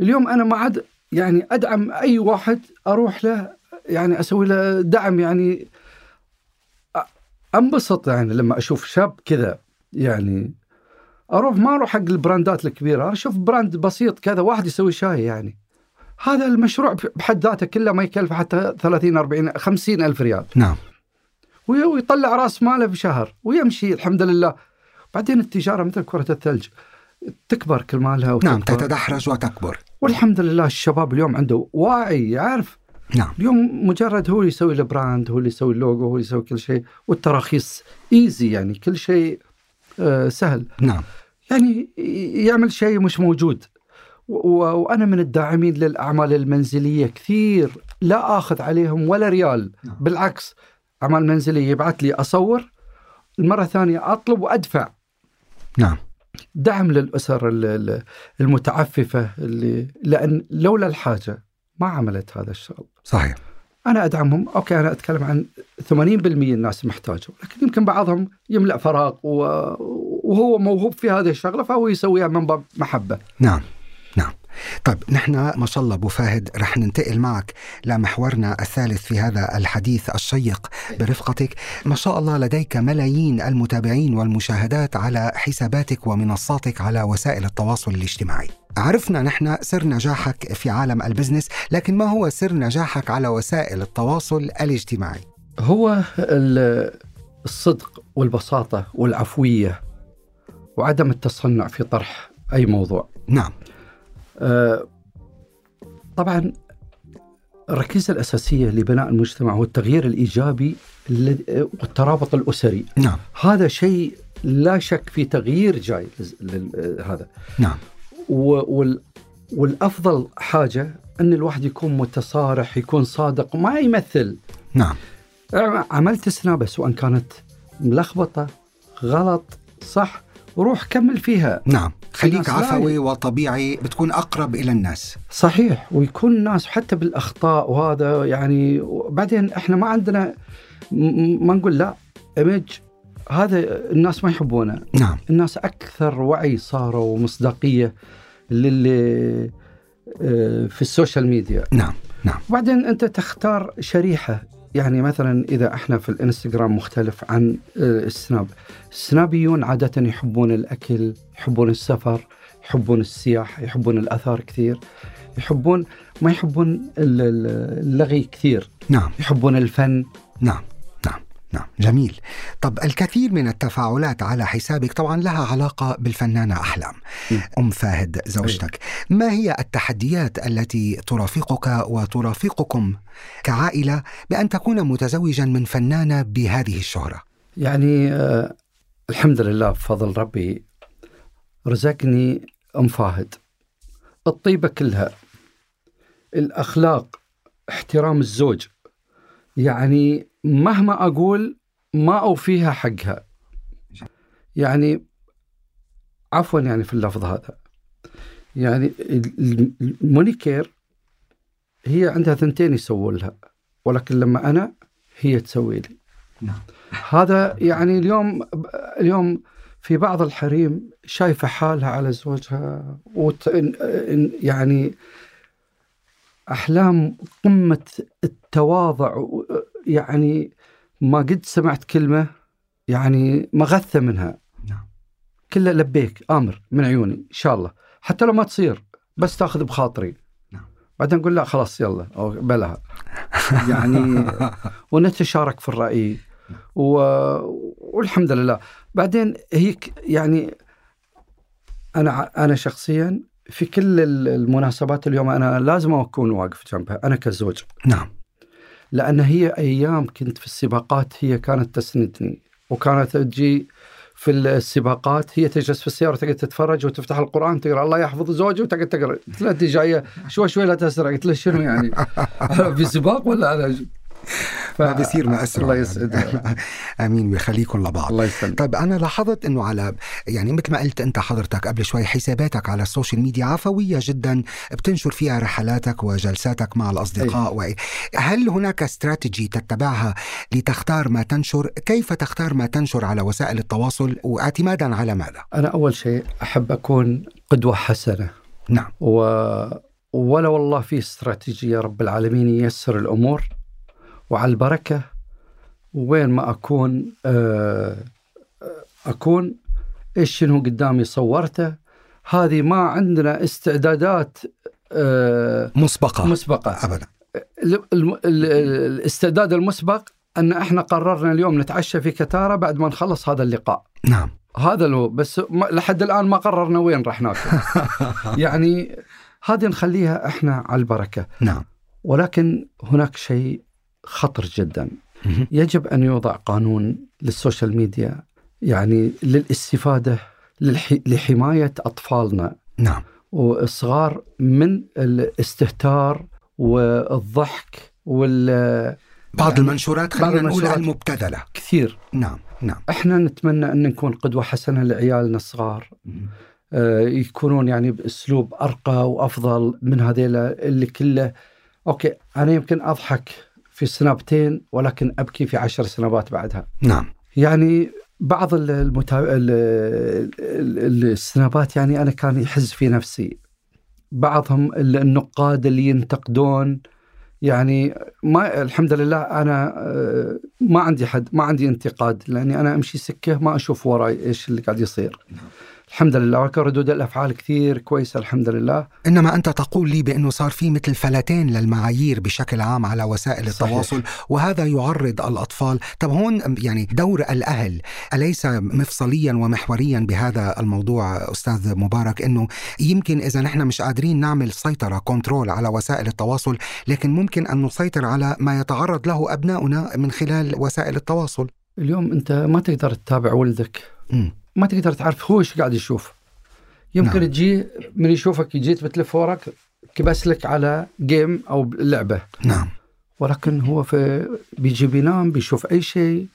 اليوم انا ما عاد يعني ادعم اي واحد اروح له يعني اسوي له دعم يعني أ- انبسط يعني لما اشوف شاب كذا يعني اروح ما اروح حق البراندات الكبيره انا اشوف براند بسيط كذا واحد يسوي شاي يعني هذا المشروع بحد ذاته كله ما يكلف حتى 30 40 50 الف ريال
نعم
وي- ويطلع راس ماله بشهر ويمشي الحمد لله بعدين التجاره مثل كره الثلج تكبر كل مالها وتكبر.
نعم تتدحرج وتكبر
والحمد لله الشباب اليوم عنده واعي يعرف
نعم
اليوم مجرد هو اللي يسوي البراند هو اللي يسوي اللوجو هو اللي يسوي كل شيء والتراخيص ايزي يعني كل شيء آه، سهل
نعم
يعني ي- يعمل شيء مش موجود و- و- وانا من الداعمين للاعمال المنزليه كثير لا اخذ عليهم ولا ريال
نعم.
بالعكس اعمال منزليه يبعث لي اصور المره الثانيه اطلب وادفع
نعم
دعم للاسر ال- ال- المتعففه اللي لان لولا الحاجه ما عملت هذا الشغل
صحيح
انا ادعمهم اوكي انا اتكلم عن 80% الناس محتاجه لكن يمكن بعضهم يملا فراغ و... وهو موهوب في هذه الشغله فهو يسويها من باب محبه
نعم نعم طيب نحن ما شاء الله ابو فهد رح ننتقل معك لمحورنا الثالث في هذا الحديث الشيق برفقتك ما شاء الله لديك ملايين المتابعين والمشاهدات على حساباتك ومنصاتك على وسائل التواصل الاجتماعي عرفنا نحن سر نجاحك في عالم البزنس لكن ما هو سر نجاحك على وسائل التواصل الاجتماعي
هو ال- الصدق والبساطه والعفويه وعدم التصنع في طرح اي موضوع
نعم
أه، طبعا الركيزه الاساسيه لبناء المجتمع هو التغيير الايجابي الذي- والترابط الاسري
نعم
هذا شيء لا شك في تغيير جاي لل- لل- هذا
نعم
و- وال والافضل حاجه ان الواحد يكون متصارح يكون صادق ما يمثل
نعم
عملت سنابه سواء كانت ملخبطه غلط صح روح كمل فيها
نعم خليك
الناس لا
عفوي وطبيعي بتكون أقرب إلى الناس
صحيح ويكون الناس حتى بالاخطاء وهذا يعني بعدين احنا ما عندنا م- ما نقول لا ايمج هذا الناس ما يحبونه
نعم
الناس اكثر وعي صاروا ومصداقيه للي آه، في السوشيال ميديا
نعم
وبعدين انت تختار شريحه يعني مثلا اذا احنا في الانستغرام مختلف عن آه، السناب السنابيون عاده يحبون الاكل يحبون السفر يحبون السياحه يحبون الاثار كثير يحبون ما يحبون ال- ال- اللغي كثير
نعم
يحبون الفن
نعم نعم نعم جميل طب الكثير من التفاعلات على حسابك طبعا لها علاقة بالفنانة أحلام
م.
أم فاهد زوجتك
أيوة.
ما هي التحديات التي ترافقك وترافقكم كعائلة بأن تكون متزوجا من فنانة بهذه الشهرة
يعني آه، الحمد لله بفضل ربي رزقني ام فاهد الطيبه كلها الاخلاق احترام الزوج يعني مهما اقول ما اوفيها حقها يعني عفوا يعني في اللفظ هذا يعني ال- ال- المونيكير هي عندها ثنتين يسووا لها ولكن لما انا هي تسوي لي هذا يعني اليوم اليوم في بعض الحريم شايفه حالها على زوجها وت... إن- إن- يعني احلام قمه التواضع و- يعني ما قد سمعت كلمه يعني مغثه منها
نعم.
كلها لبيك امر من عيوني ان شاء الله حتى لو ما تصير بس تاخذ بخاطري
نعم.
بعدين نقول لا خلاص يلا او بلها يعني ونتشارك في الرأي و... والحمد لله بعدين هي ك- يعني أنا ع- أنا شخصيا في كل ال- المناسبات اليوم أنا لازم أكون واقف جنبها أنا كزوج
نعم
لأن هي أيام كنت في السباقات هي كانت تسندني وكانت تجي في السباقات هي تجلس في السيارة تقعد تتفرج وتفتح القرآن تقرأ الله يحفظ زوجي وتقعد تقرأ قلت لها أنت جاية شوي شوي لا تسرع قلت لها شنو يعني أنا في سباق ولا أنا ف...
ما بيصير ما أسرع
الله
يعني.
يسعدك
آمين ويخليكم لبعض
الله يسلمك
طيب انا لاحظت انه على يعني مثل ما قلت انت حضرتك قبل شوي حساباتك على السوشيال ميديا عفويه جدا بتنشر فيها رحلاتك وجلساتك مع الاصدقاء
إيه.
و... هل هناك استراتيجي تتبعها لتختار ما تنشر كيف تختار ما تنشر على وسائل التواصل واعتمادا على ماذا
انا اول شيء احب اكون قدوه حسنه
نعم
و... ولا والله في استراتيجيه رب العالمين ييسر الامور وعلى البركه وين ما اكون آه، آه، اكون ايش شنو قدامي صورته هذه ما عندنا استعدادات آه،
مسبقه
مسبقه
ابدا
ال- ال- ال- الاستعداد المسبق ان احنا قررنا اليوم نتعشى في كتاره بعد ما نخلص هذا اللقاء
نعم
هذا اللي هو بس ما لحد الان ما قررنا وين راح ناكل يعني هذه نخليها احنا على البركه
نعم
ولكن هناك شيء خطر جدا
مهم.
يجب ان يوضع قانون للسوشيال ميديا يعني للاستفاده للح- لحمايه اطفالنا
نعم
والصغار من الاستهتار والضحك والكثير
بعض
يعني
المنشورات
بعض
خلينا نقول
المنشورات.
المبتذله نعم نعم
احنا نتمنى ان نكون قدوه حسنه لعيالنا الصغار آه، يكونون يعني باسلوب ارقى وافضل من هذيلا اللي كله اوكي انا يمكن اضحك في سنابتين ولكن ابكي في عشر سنابات بعدها
نعم
يعني بعض ال- المتا... ال... ال- ال- السنابات يعني انا كان يحز في نفسي بعضهم ال- النقاد اللي ينتقدون يعني ما الحمد لله انا آه، ما عندي حد ما عندي انتقاد لاني انا امشي سكه ما اشوف وراي ايش اللي قاعد يصير الحمد لله ولكن ردود الافعال كثير كويسه الحمد لله
انما انت تقول لي بانه صار في مثل فلتين للمعايير بشكل عام على وسائل
صحيح.
التواصل وهذا يعرض الاطفال طب هون يعني دور الاهل اليس مفصليا ومحوريا بهذا الموضوع استاذ مبارك انه يمكن اذا نحن مش قادرين نعمل سيطره كنترول على وسائل التواصل لكن ممكن ان نسيطر على ما يتعرض له ابناؤنا من خلال وسائل التواصل
اليوم انت ما تقدر تتابع ولدك
مم.
ما تقدر تعرف هو ايش قاعد يشوف يمكن
نعم.
نعم. تجي من يشوفك جيت بتلف وراك كبس لك على جيم او لعبه
نعم
ولكن هو في بيجي بينام بيشوف اي شيء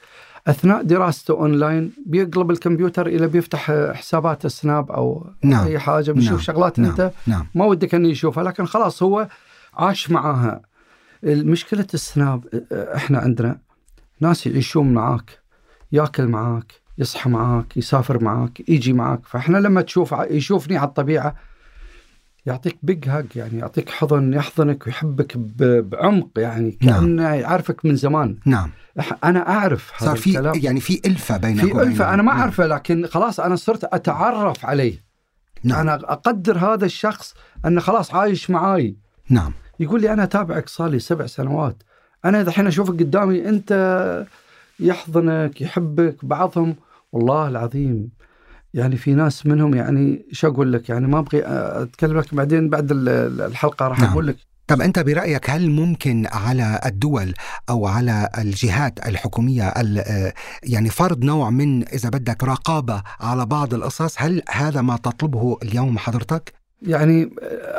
اثناء دراسته اونلاين بيقلب الكمبيوتر الى بيفتح حسابات سناب او
نعم.
اي حاجه بيشوف
نعم.
شغلات
نعم.
انت
نعم
ما ودك انه يشوفها لكن خلاص هو عاش معاها مشكله السناب آه، احنا عندنا ناس يعيشون معاك ياكل معاك يصحى معاك يسافر معاك يجي معاك فاحنا لما تشوف يشوفني على الطبيعه يعطيك بيج هاج يعني يعطيك حضن يحضنك ويحبك ب- بعمق يعني
نعم.
كانه يعرفك من زمان
نعم
إح- انا اعرف هذا
صار في
الكلام
يعني في ألفة بينكم
في ألفة أنا ما
نعم.
أعرفه لكن خلاص أنا صرت أتعرف عليه
نعم.
أنا أقدر هذا الشخص أنه خلاص عايش معاي
نعم
يقول لي أنا أتابعك صار لي سبع سنوات أنا دحين أشوفك قدامي أنت يحضنك يحبك بعضهم والله العظيم يعني في ناس منهم يعني شو أقول لك يعني ما أبغي أتكلم لك بعدين بعد ال- ال- الحلقة راح
نعم.
أقول لك
طب أنت برأيك هل ممكن على الدول أو على الجهات الحكومية ال- آه، يعني فرض نوع من إذا بدك رقابة على بعض القصص هل هذا ما تطلبه اليوم حضرتك؟
يعني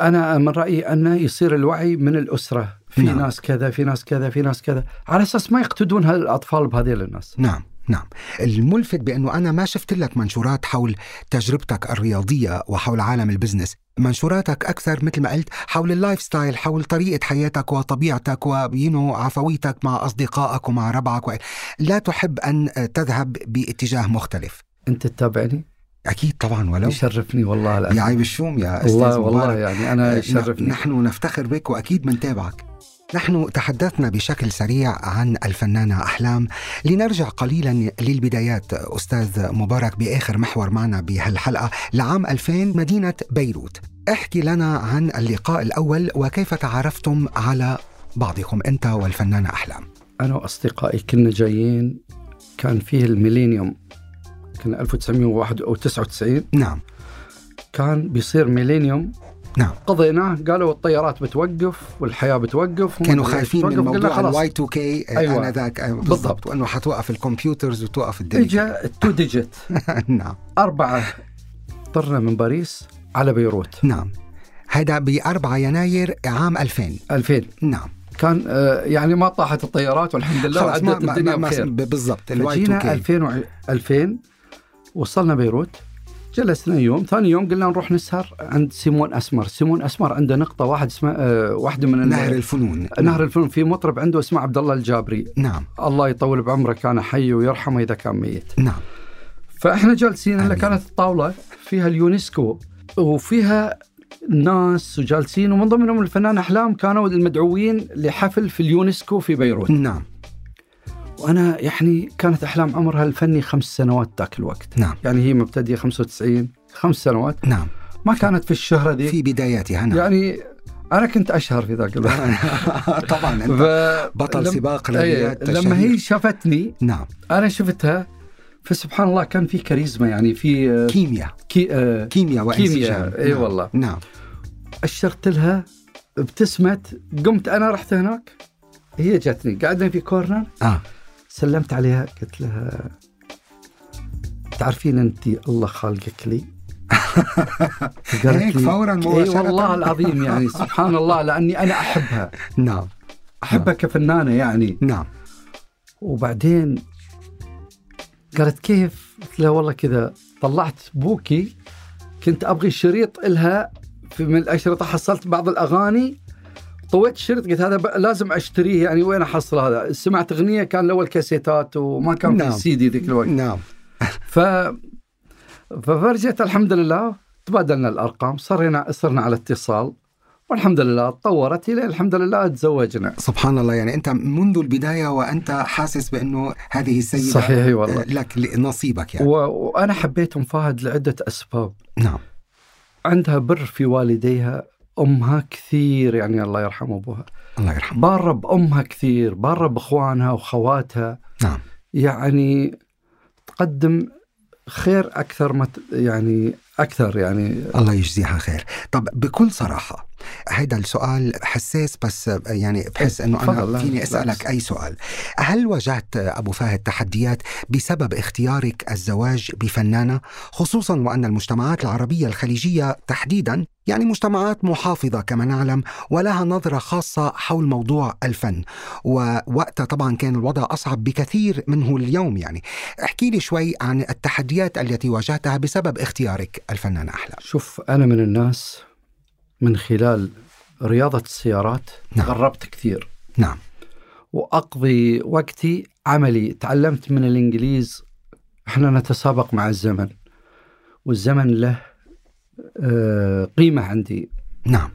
انا من رايي انه يصير الوعي من الاسره في
نعم.
نعم. ناس كذا في ناس كذا في ناس كذا على اساس ما يقتدون هالاطفال بهذيل الناس
نعم نعم الملفت بأنه أنا ما شفت لك منشورات حول تجربتك الرياضية وحول عالم البزنس منشوراتك أكثر مثل ما قلت حول اللايف ستايل حول طريقة حياتك وطبيعتك وينو عفويتك مع أصدقائك ومع ربعك و... لا تحب أن تذهب باتجاه مختلف
انت تتابعني
أكيد طبعا ولو
يشرفني والله
يا
العظيم
عيب الشوم يا أستاذ
والله
مبارك نعم.
والله يعني انا
نح-
يشرفني
نحن نفتخر بك واكيد منتابعك. نحن تحدثنا بشكل سريع عن الفنانه احلام لنرجع قليلا للبدايات استاذ مبارك باخر محور معنا بهالحلقه لعام 2000 مدينه بيروت. احكي لنا عن اللقاء الاول وكيف تعرفتم على بعضكم انت والفنانه احلام.
انا واصدقائي كنا جايين كان فيه الميلينيوم كان 1991 او 99
نعم
كان بيصير ميلينيوم
نعم.
قضيناه قالوا الطيارات بتوقف والحياه بتوقف هم
كانوا خايفين من
بتوقف. قلنا
موضوع
خلاص
الواي 2 كي
أيوة.
انذاك أيوة، بالضبط
بالضبط.
وانه حتوقف الكمبيوترز وتوقف الدنيا.
اجى التو ديجيت
نعم
أربعة طرنا من باريس على بيروت
نعم. هذا ب 4 يناير عام 2000
2000
نعم
كان آه، يعني ما طاحت الطيارات والحمد لله
خلاص ما
عدت
ما ما
الدنيا
ما
بخير
ب- بالضبط الواي 2
فجينا
كي
2000 وع- 2000 وصلنا بيروت جلسنا يوم ثاني يوم قلنا نروح نسهر عند سيمون اسمر سيمون اسمر عنده نقطه واحد اسمها آه، واحده من ال-
نهر الفنون
نهر الفيلم في مطرب عنده اسمه عبد الله الجابري
نعم
الله يطول بعمره كان حي ويرحمه اذا كان ميت
نعم
فاحنا جالسين هلا
آمين.
كانت الطاوله فيها اليونسكو وفيها ناس وجالسين ومن ضمنهم الفنان احلام كانوا المدعوين لحفل في اليونسكو في بيروت
نعم
وانا يعني كانت احلام عمرها الفني خمس سنوات ذاك الوقت
نعم
يعني هي مبتدئه 95 خمس سنوات
نعم
ما كانت في الشهره ذي
في بدايتها نعم
يعني انا كنت اشهر في ذاك الوقت
طبعا
ف...
أنت بطل
لم-
سباق
أي،
رياضيات
لما
شهير.
هي شافتني
نعم
انا شفتها فسبحان الله كان في كاريزما يعني في آه،
كيمياء
كي آه،
كيمياء وانسجام
كيمياء، أي
نعم.
والله.
نعم
أشرت لها ابتسمت قمت أنا رحت هناك هي جتني قعدنا في كورنر
اه
سلمت عليها قلت لها تعرفين أنت الله خالقك لي
هيك فوراً
اي
مباشرة.
والله العظيم يعني سبحان الله لأني أنا أحبها
نعم
أحبها كفنانة يعني
نعم
وبعدين قالت كيف؟ قلت لها والله كذا طلعت بوكي كنت ابغي شريط الها في من الاشرطه حصلت بعض الاغاني طويت الشريط قلت هذا ب- لازم اشتريه يعني وين احصل هذا؟ سمعت اغنيه كان الاول كاسيتات وما كان
نعم.
في سي دي ذيك الوقت
نعم
ف ففرجت الحمد لله تبادلنا الارقام صرنا صرنا على اتصال والحمد لله تطورت الى الحمد لله تزوجنا
سبحان الله يعني انت منذ البدايه وانت حاسس بانه هذه السيده
صحيح، أي والله.
آه، لك ل- نصيبك يعني
و... وانا حبيت ام فهد لعده اسباب
نعم
عندها بر في والديها امها كثير يعني الله يرحم ابوها
الله يرحمه
باره بامها كثير باره باخوانها وخواتها
نعم
يعني تقدم خير اكثر ما ت- يعني اكثر يعني
الله يجزيها خير طب بكل صراحة هيدا السؤال حساس بس يعني بحس انه انا
تفضل،
فيني
لا،
اسالك
بالعكس.
اي سؤال هل واجهت ابو فهد تحديات بسبب اختيارك الزواج بفنانه خصوصا وان المجتمعات العربيه الخليجيه تحديدا يعني مجتمعات محافظه كما نعلم ولها نظره خاصه حول موضوع الفن ووقتها طبعا كان الوضع اصعب بكثير منه اليوم يعني احكي لي شوي عن التحديات التي واجهتها بسبب اختيارك الفنانه احلام
شوف انا من الناس من خلال رياضه السيارات
نعم.
تغربت كثير
نعم
واقضي وقتي عملي تعلمت من الانجليز احنا نتسابق مع الزمن والزمن له آه، قيمه عندي
نعم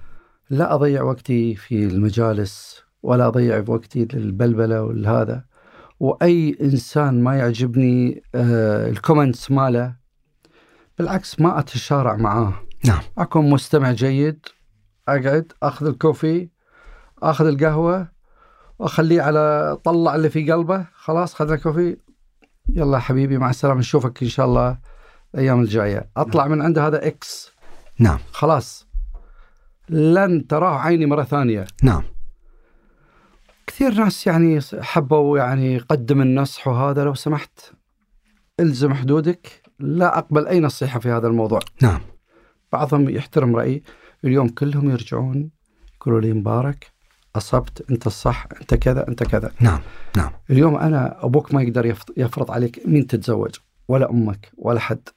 لا اضيع وقتي في المجالس ولا اضيع وقتي للبلبله والهذا واي انسان ما يعجبني آه، الكومنتس ماله بالعكس ما اتشارع معاه
نعم
اكون مستمع جيد اقعد اخذ الكوفي اخذ القهوه واخليه على طلع اللي في قلبه خلاص خذنا كوفي يلا حبيبي مع السلامه نشوفك ان شاء الله الايام الجايه اطلع من عند هذا اكس
نعم
خلاص لن تراه عيني مره ثانيه
نعم
كثير ناس يعني حبوا يعني قدم النصح وهذا لو سمحت الزم حدودك لا اقبل اي نصيحه في هذا الموضوع
نعم
بعضهم يحترم رأيي اليوم كلهم يرجعون يقولوا لي مبارك أصبت أنت الصح أنت كذا أنت كذا
نعم نعم
اليوم أنا أبوك ما يقدر يفط- يفرض عليك مين تتزوج ولا أمك ولا حد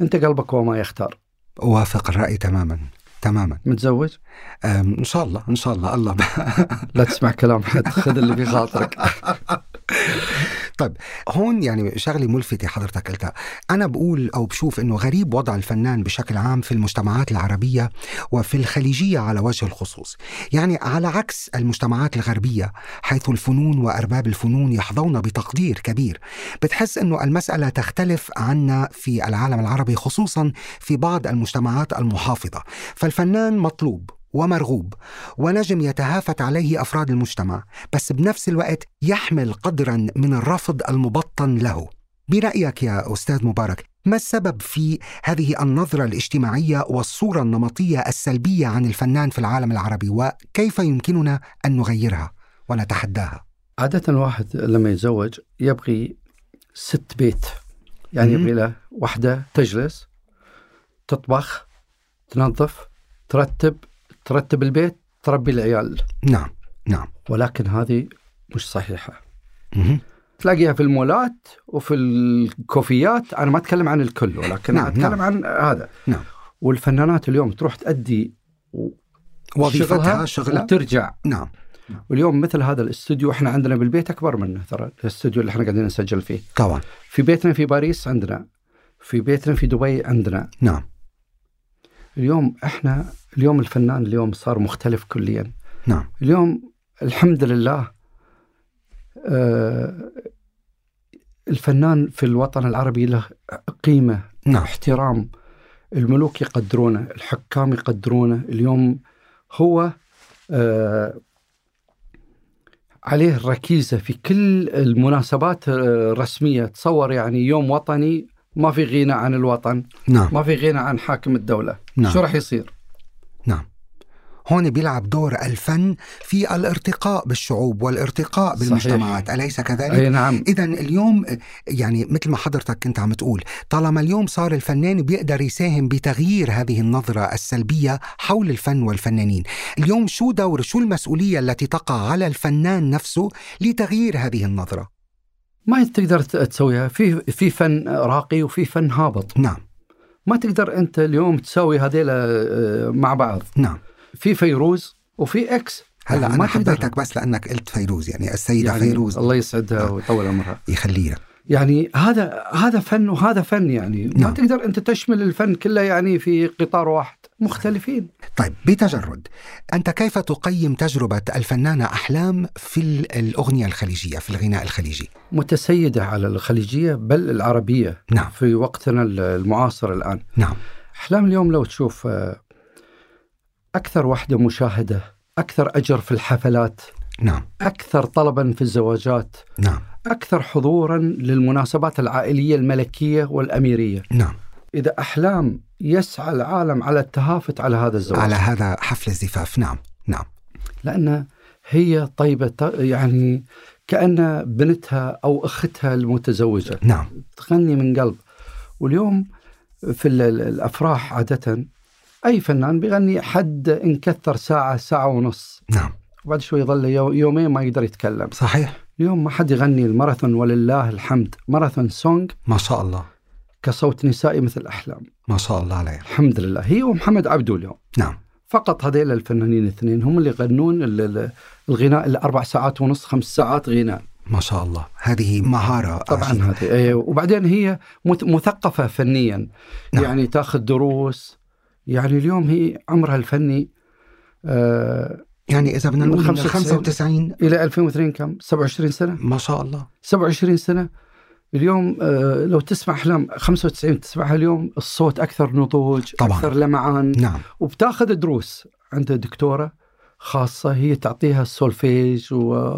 أنت قلبك هو ما يختار
اوافق الراي تماما تماما
متزوج
أم، ان شاء الله ان شاء الله الله
لا تسمع كلام حد خذ اللي في خاطرك
طيب هون يعني شغله ملفته حضرتك قلتها انا بقول او بشوف انه غريب وضع الفنان بشكل عام في المجتمعات العربيه وفي الخليجيه على وجه الخصوص يعني على عكس المجتمعات الغربيه حيث الفنون وارباب الفنون يحظون بتقدير كبير بتحس انه المساله تختلف عنا في العالم العربي خصوصا في بعض المجتمعات المحافظه فالفنان مطلوب ومرغوب ونجم يتهافت عليه افراد المجتمع بس بنفس الوقت يحمل قدرا من الرفض المبطن له برايك يا استاذ مبارك ما السبب في هذه النظره الاجتماعيه والصوره النمطيه السلبيه عن الفنان في العالم العربي وكيف يمكننا ان نغيرها ونتحداها
عادة الواحد لما يتزوج يبغي ست بيت يعني
مم.
يبغي له واحدة تجلس تطبخ تنظف ترتب ترتب البيت تربي العيال
نعم نعم
ولكن هذه مش صحيحة
مهم.
تلاقيها في المولات وفي الكوفيات أنا ما أتكلم عن الكل ولكن
نعم،
نعم أتكلم
نعم.
نعم. عن هذا
نعم.
والفنانات اليوم تروح تأدي
وظيفتها شغلها
وترجع
نعم
واليوم مثل هذا الاستوديو احنا عندنا بالبيت اكبر منه ترى الاستوديو اللي احنا قاعدين نسجل فيه
طبعا
في بيتنا في باريس عندنا في بيتنا في دبي عندنا
نعم
اليوم احنا اليوم الفنان اليوم صار مختلف كليا
نعم
اليوم الحمد لله آه الفنان في الوطن العربي له قيمة
نعم
احترام الملوك يقدرونه الحكام يقدرونه اليوم هو آه عليه الركيزة في كل المناسبات آه، الرسمية تصور يعني يوم وطني ما في غنى عن الوطن
نعم
ما في غنى عن حاكم الدولة
نعم
شو راح يصير
نعم هون بيلعب دور الفن في الارتقاء بالشعوب والارتقاء
صحيح.
بالمجتمعات أليس كذلك؟
أي نعم
إذا اليوم يعني مثل ما حضرتك كنت عم تقول طالما اليوم صار الفنان بيقدر يساهم بتغيير هذه النظرة السلبية حول الفن والفنانين اليوم شو دور شو المسؤولية التي تقع على الفنان نفسه لتغيير هذه النظرة
ما تقدر ت- تسويها في في فن راقي وفي فن هابط
نعم ما
ما تقدر انت اليوم تساوي هذيلا آه، مع بعض
نعم
في فيروز وفي اكس
هلا
يعني ما
أنا
تقدر.
حبيتك بس لأنك قلت فيروز يعني السيدة
يعني
فيروز نعم.
الله يسعدها ويطول عمرها
يخليها
يعني هذا هذا فن وهذا فن يعني ما
نعم.
تقدر انت تشمل الفن كله يعني في قطار واحد مختلفين
طيب بتجرد أنت كيف تقيم تجربة الفنانة أحلام في ال- الأغنية الخليجية في الغناء الخليجي
متسيده على الخليجيه بل العربيه
نعم
في وقتنا ال- المعاصر الان
نعم
احلام اليوم لو تشوف آه، اكثر وحده مشاهده اكثر اجر في الحفلات
نعم
اكثر طلبا في الزواجات
نعم
اكثر حضورا للمناسبات العائليه الملكيه والاميريه
نعم
إذا أحلام يسعى العالم على التهافت على هذا الزواج
على هذا حفل الزفاف نعم نعم
لأن هي طيبة يعني كأن بنتها أو أختها المتزوجة
نعم
تغني من قلب واليوم في ال- ال- الأفراح عادة أي فنان بيغني حد إن كثر ساعة ساعة ونص
نعم
وبعد شوي يظل يو- يومين ما يقدر يتكلم
صحيح
اليوم ما حد يغني الماراثون ولله الحمد ماراثون سونج
ما شاء الله
كصوت نسائي مثل أحلام
ما شاء الله عليه
الحمد لله هي ومحمد عبده اليوم
نعم
فقط هذيل الفنانين الاثنين هم اللي يغنون ال- ال- الغناء الأربع ساعات ونص خمس ساعات غناء
ما شاء الله هذه مهارة
طبعا
عجيبة.
هذه إيه، وبعدين هي مث- مثقفة فنيا
نعم.
يعني تاخذ دروس يعني اليوم هي عمرها الفني آه
يعني إذا بدنا
من
نقول من
95
95
إلى 2002 كم 27 سنة
ما شاء الله
27 سنة اليوم آه لو تسمع أحلام 95 تسمعها اليوم الصوت أكثر نضوج
طبعاً.
أكثر لمعان
نعم
وبتاخذ دروس عند دكتورة خاصة هي تعطيها السولفيج و...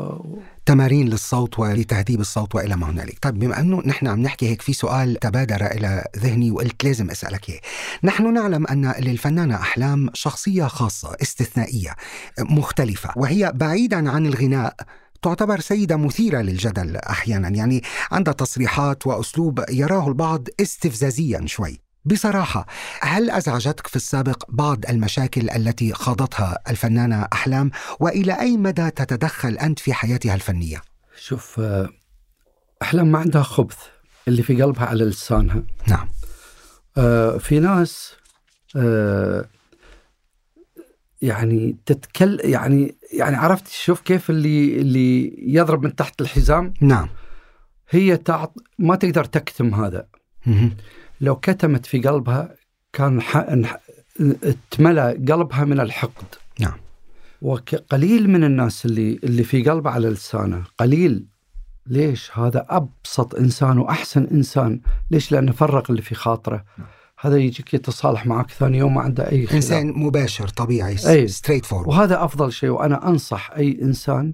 تمارين للصوت ولتهذيب الصوت والى ما هنالك، طيب بما انه نحن عم نحكي هيك في سؤال تبادر الى ذهني وقلت لازم اسالك اياه. نحن نعلم ان للفنانه احلام شخصيه خاصه استثنائيه مختلفه وهي بعيدا عن الغناء تعتبر سيدة مثيرة للجدل أحيانا يعني عندها تصريحات وأسلوب يراه البعض استفزازيا شوي بصراحة هل أزعجتك في السابق بعض المشاكل التي خاضتها الفنانة أحلام وإلى أي مدى تتدخل أنت في حياتها الفنية؟
شوف آه، أحلام ما عندها خبث اللي في قلبها على لسانها
نعم
آه، في ناس آه، يعني تتكل يعني يعني عرفت شوف كيف اللي اللي يضرب من تحت الحزام
نعم
هي تعط ما تقدر تكتم هذا
مهم.
لو كتمت في قلبها كان ح... انح- اتملى قلبها من الحقد
نعم.
وقليل من الناس اللي اللي في قلبه على لسانه قليل ليش هذا ابسط انسان واحسن انسان ليش لانه فرق اللي في خاطره هذا يجيك يتصالح معك ثاني يوم ما عنده اي خلاف.
إنسان مباشر طبيعي
أي.
ستريت فورورد
وهذا افضل شيء وانا انصح اي انسان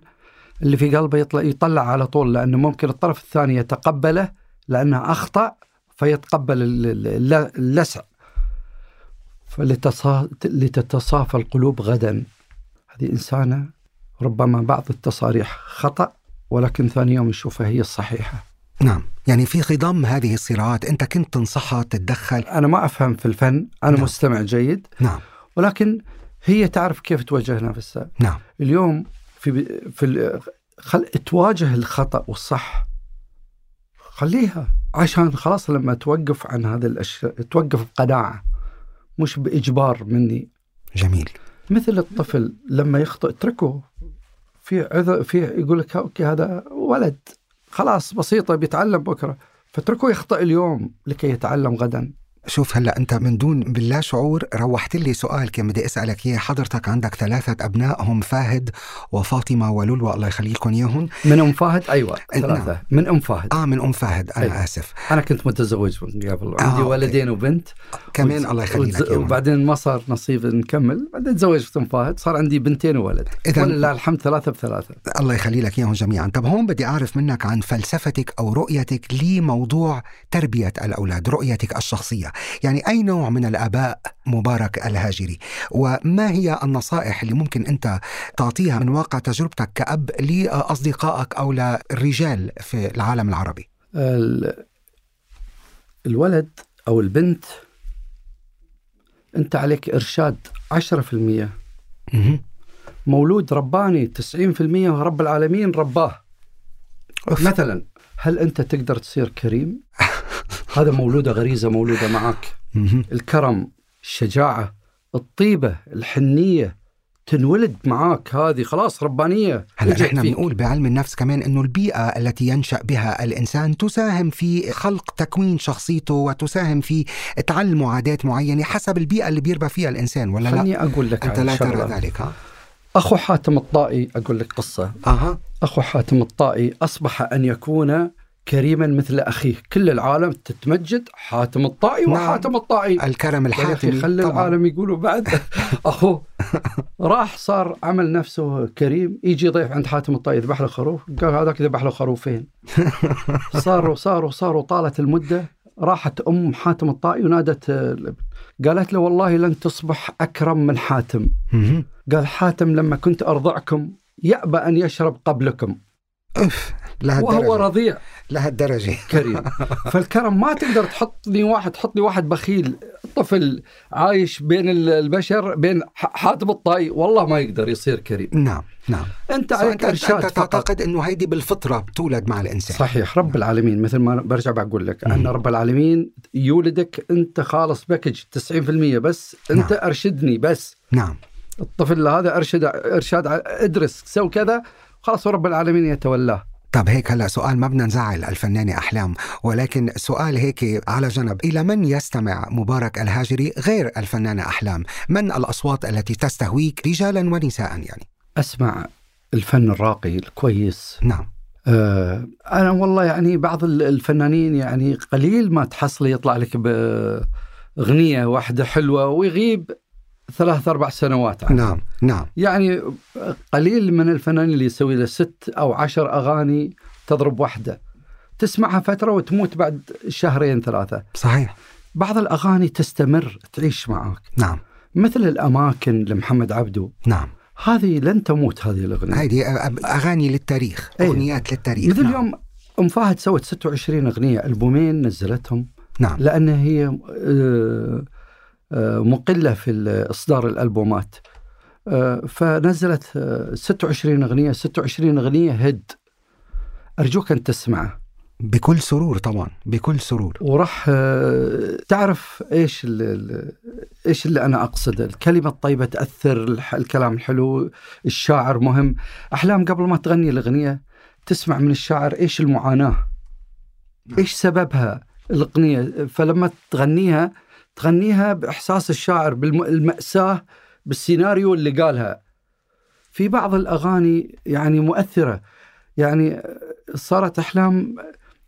اللي في قلبه يطلع يطلع على طول لانه ممكن الطرف الثاني يتقبله لانه اخطا فيتقبل ال- ال- الل- اللسع فلتصا... لتتصافى القلوب غدا هذه انسانه ربما بعض التصاريح خطا ولكن ثاني يوم نشوفها هي الصحيحه
نعم يعني في خضم هذه الصراعات أنت كنت تنصحها تتدخل
انا ما افهم في الفن انا
نعم.
مستمع جيد
نعم
ولكن هي تعرف كيف توجه نفسها
نعم
اليوم في في ال- خل تواجه الخطا والصح خليها عشان خلاص لما توقف عن هذا الاشياء توقف بقناعه مش باجبار مني
جميل
مثل الطفل لما يخطئ اتركه في عذر في يقول لك اوكي هذا ولد خلاص بسيطه بيتعلم بكره فاتركه يخطئ اليوم لكي يتعلم غدا
شوف هلا انت من دون باللا شعور روحت لي سؤال كان بدي اسالك اياه حضرتك عندك ثلاثه ابناء هم فاهد وفاطمه ولولو الله يخليكم اياهم
من ام فهد ايوه
نعم.
ثلاثه من ام فهد
اه من ام فهد انا
أي.
اسف
انا كنت متزوج من قبل
آه،
عندي
أوكي.
ولدين وبنت
كمان
وتز-
الله يخلي
وتز-
لك اياهم
وبعدين ما صار نصيب نكمل بعدين تزوجت ام فهد صار عندي بنتين وولد
إذن-
ولله الحمد ثلاثه بثلاثه
الله يخلي لك اياهم جميعا طب هون بدي اعرف منك عن فلسفتك او رؤيتك لموضوع تربيه الاولاد رؤيتك الشخصيه يعني اي نوع من الاباء مبارك الهاجري وما هي النصائح اللي ممكن انت تعطيها من واقع تجربتك كاب لاصدقائك او للرجال في العالم العربي
ال- الولد او البنت انت عليك ارشاد 10%
مهم.
مولود رباني 90% رب العالمين رباه
أوف.
مثلا هل انت تقدر تصير كريم هذا مولوده غريزه مولوده معك
مهم.
الكرم الشجاعة الطيبة الحنية تنولد معاك هذه خلاص ربانية
هلا
وجهت
نحن
فيك.
بنقول بعلم النفس كمان انه البيئه التي ينشا بها الانسان تساهم في خلق تكوين شخصيته وتساهم في تعلمه عادات معينه حسب البيئه اللي بيربى فيها الانسان ولا لا؟
خليني أقول لك
انت
على
لا ترى
شغلة.
ذلك ها؟
أخو حاتم الطائي أقول لك قصة
اها
أخو حاتم الطائي أصبح أن يكون كريما مثل أخيه كل العالم تتمجد حاتم الطائي
نعم.
وحاتم الطائي
الكرم
يا
الحاتمي
أخي خلي
طبعاً.
العالم يقولوا بعد أخوه راح صار عمل نفسه كريم يجي ضيف عند حاتم الطائي يذبح له خروف قال هذاك ذبح له خروفين صاروا صاروا صاروا طالت المدة راحت ام حاتم الطائي ونادت الابن. قالت له والله لن تصبح اكرم من حاتم
مهم.
قال حاتم لما كنت ارضعكم يأبى ان يشرب قبلكم
أف لهالدرجة
وهو رضيع
لهالدرجة
كريم فالكرم ما تقدر تحط لي واحد تحط لي واحد بخيل طفل عايش بين ال- البشر بين ح- حاتم الطائي والله ما يقدر يصير كريم
نعم نعم
انت
فأنت
عليك ارشاد
أنت
فقط
تعتقد أنه هيدي بالفطرة بتولد مع الإنسان
صحيح رب العالمين مثل ما برجع بقول لك ان رب العالمين يولدك انت خالص باكج 90% بس انت
نعم.
ارشدني بس
نعم
الطفل هذا ارشد ارشاد ادرس سوي كذا خلاص رب العالمين يتولاه
طب هيك هلا سؤال ما بدنا نزعل الفنانة أحلام ولكن سؤال هيك على جنب إلى من يستمع مبارك الهاجري غير الفنانة أحلام من الأصوات التي تستهويك رجالا ونساء يعني
اسمع الفن الراقي الكويس
نعم
آه، انا والله يعني بعض ال- الفنانين يعني قليل ما تحصل يطلع لك باغنيه واحده حلوه ويغيب ثلاث اربع سنوات عنه.
نعم نعم
يعني قليل من الفنانين اللي يسوي له ست او عشر اغاني تضرب واحده تسمعها فتره وتموت بعد شهرين ثلاثه
صحيح
بعض الاغاني تستمر تعيش معك
نعم
مثل الاماكن لمحمد عبده
نعم
هذه لن تموت هذه الاغنيه
هيدي أ- أ- أغاني للتاريخ
إيه.
أغنيات للتاريخ
مثل
نعم.
اليوم ام فهد سوت 26 اغنيه البومين نزلتهم
نعم
لان هي آه، آه، مقله في ال- اصدار الالبومات آه، فنزلت آه، 26 اغنيه 26 اغنيه هيد ارجوك ان تسمعه
بكل سرور طبعا بكل سرور
وراح آه، تعرف ايش ال- ال- ايش اللي انا اقصده الكلمه الطيبه تاثر الح- الكلام الحلو الشاعر مهم احلام قبل ما تغني الاغنيه تسمع من الشاعر ايش المعاناه ايش سببها الاغنيه فلما تغنيها تغنيها باحساس الشاعر بالماساه بالسيناريو اللي قالها في بعض الاغاني يعني مؤثره يعني صارت احلام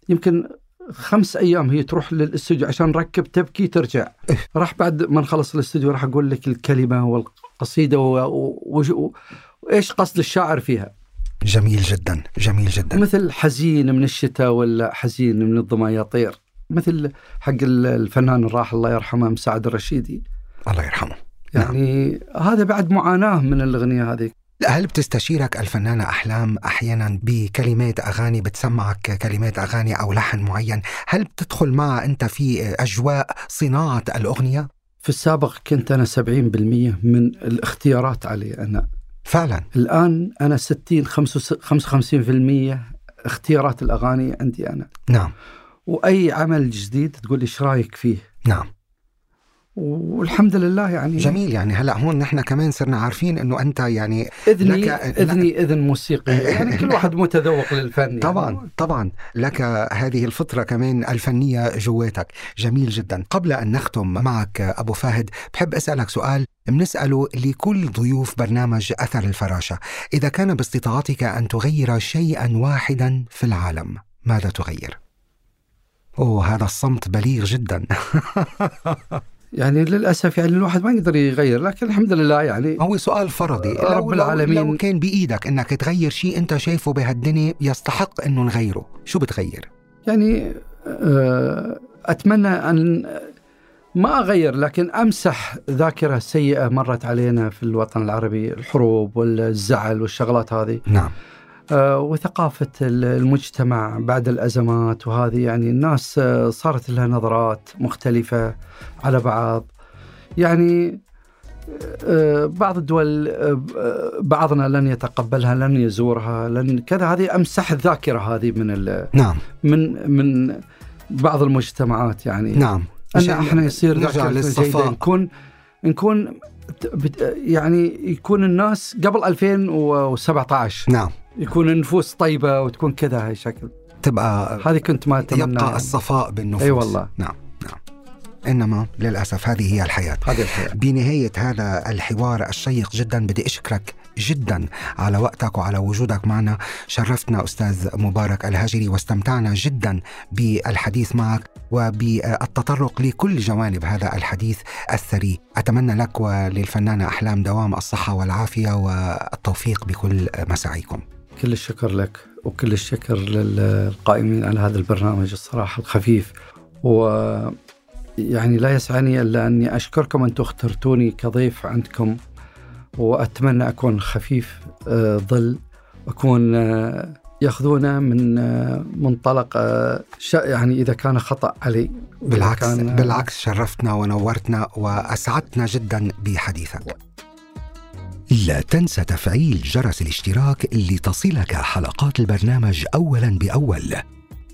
يمكن خمس ايام هي تروح للاستوديو عشان نركب تبكي ترجع راح بعد ما نخلص الاستوديو راح اقول لك الكلمه والقصيده و- و- و- وايش قصد الشاعر فيها
جميل جدا جميل جدا
مثل حزين من الشتاء ولا حزين من الظما يطير مثل حق ال- الفنان الراحل الله يرحمه مساعد الرشيدي
الله يرحمه
يعني هذا بعد معاناه من الاغنيه هذه
هل بتستشيرك الفنانة أحلام أحيانا بكلمات أغاني بتسمعك كلمات أغاني أو لحن معين هل بتدخل معها أنت في أجواء صناعة الأغنية؟
في السابق كنت انا 70% من الاختيارات علي انا
فعلا
الان انا 60 55% اختيارات الاغاني عندي انا
نعم
واي عمل جديد تقول لي ايش رايك فيه
نعم
والحمد لله يعني
جميل يعني هلا هون نحن كمان صرنا عارفين أنه أنت يعني لك-
اذني
لك-
اذني اذن موسيقي يعني كل واحد متذوق للفن يعني.
طبعا طبعا لك هذه الفطرة كمان الفنية جواتك جميل جدا قبل أن نختم معك أبو فهد بحب أسألك سؤال بنسأله لكل ضيوف برنامج أثر الفراشة إذا كان باستطاعتك أن تغير شيئا واحدا في العالم ماذا تغير؟ أوه هذا الصمت بليغ جدا
يعني للاسف يعني الواحد ما يقدر يغير لكن الحمد لله يعني
هو سؤال فرضي
رب
لو- لو-
العالمين.
لو كان بإيدك أنك تغير شيء أنت شايفه بهالدنيا يستحق أنه نغيره شو بتغير؟
يعني آه، اتمنى ان ما اغير لكن امسح ذاكره سيئه مرت علينا في الوطن العربي الحروب والزعل والشغلات هذه
نعم
آه، وثقافه ال- المجتمع بعد الازمات وهذه يعني الناس آه، صارت لها نظرات مختلفه على بعض يعني آه، بعض الدول آه، بعضنا لن يتقبلها لن يزورها لن كذا هذه امسح الذاكره هذه من ال
نعم
من من بعض المجتمعات يعني
نعم
ان
شيء-
احنا يصير
نرجع
ذاكرتنا
للصفاء.
جيدة. نكون نكون ت- بت- يعني يكون الناس قبل 2017
نعم
يكون النفوس طيبه وتكون كذا هالشكل
تبقى
هذه كنت ما
يبقى
اتمناها يعني.
الصفاء بالنفوس
اي والله
نعم نعم انما للاسف هذه هي الحياه
هذه الحياه
بنهاية هذا الحوار الشيق جدا بدي أشكرك جدا على وقتك وعلى وجودك معنا شرفتنا أستاذ مبارك الهجري واستمتعنا جدا بالحديث معك وبالتطرق لكل جوانب هذا الحديث الثري أتمنى لك وللفنانة أحلام دوام الصحة والعافية والتوفيق بكل مساعيكم
كل الشكر لك وكل الشكر للقائمين على هذا البرنامج الصراحه الخفيف ويعني لا يسعني إلا أني أشكركم أنتم اخترتوني كضيف عندكم وأتمنى أكون خفيف آه، ظل أكون آه، ياخذونه من آه، منطلق آه، ش- يعني إذا كان خطأ علي وإذا
بالعكس
كان-
بالعكس شرفتنا ونورتنا واسعدتنا جدا بحديثك. لا تنسى تفعيل جرس الاشتراك لتصلك حلقات البرنامج اولا باول.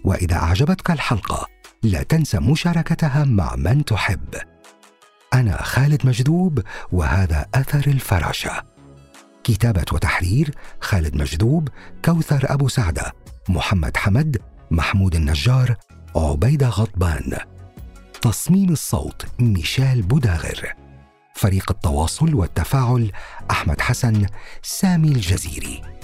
واذا اعجبتك الحلقه لا تنسى مشاركتها مع من تحب. انا خالد مجذوب وهذا اثر الفراشه. كتابه وتحرير خالد مجذوب، كوثر ابو سعده، محمد حمد، محمود النجار، عبيده غضبان. تصميم الصوت ميشيل بوداغر فريق التواصل والتفاعل احمد حسن سامي الجزيري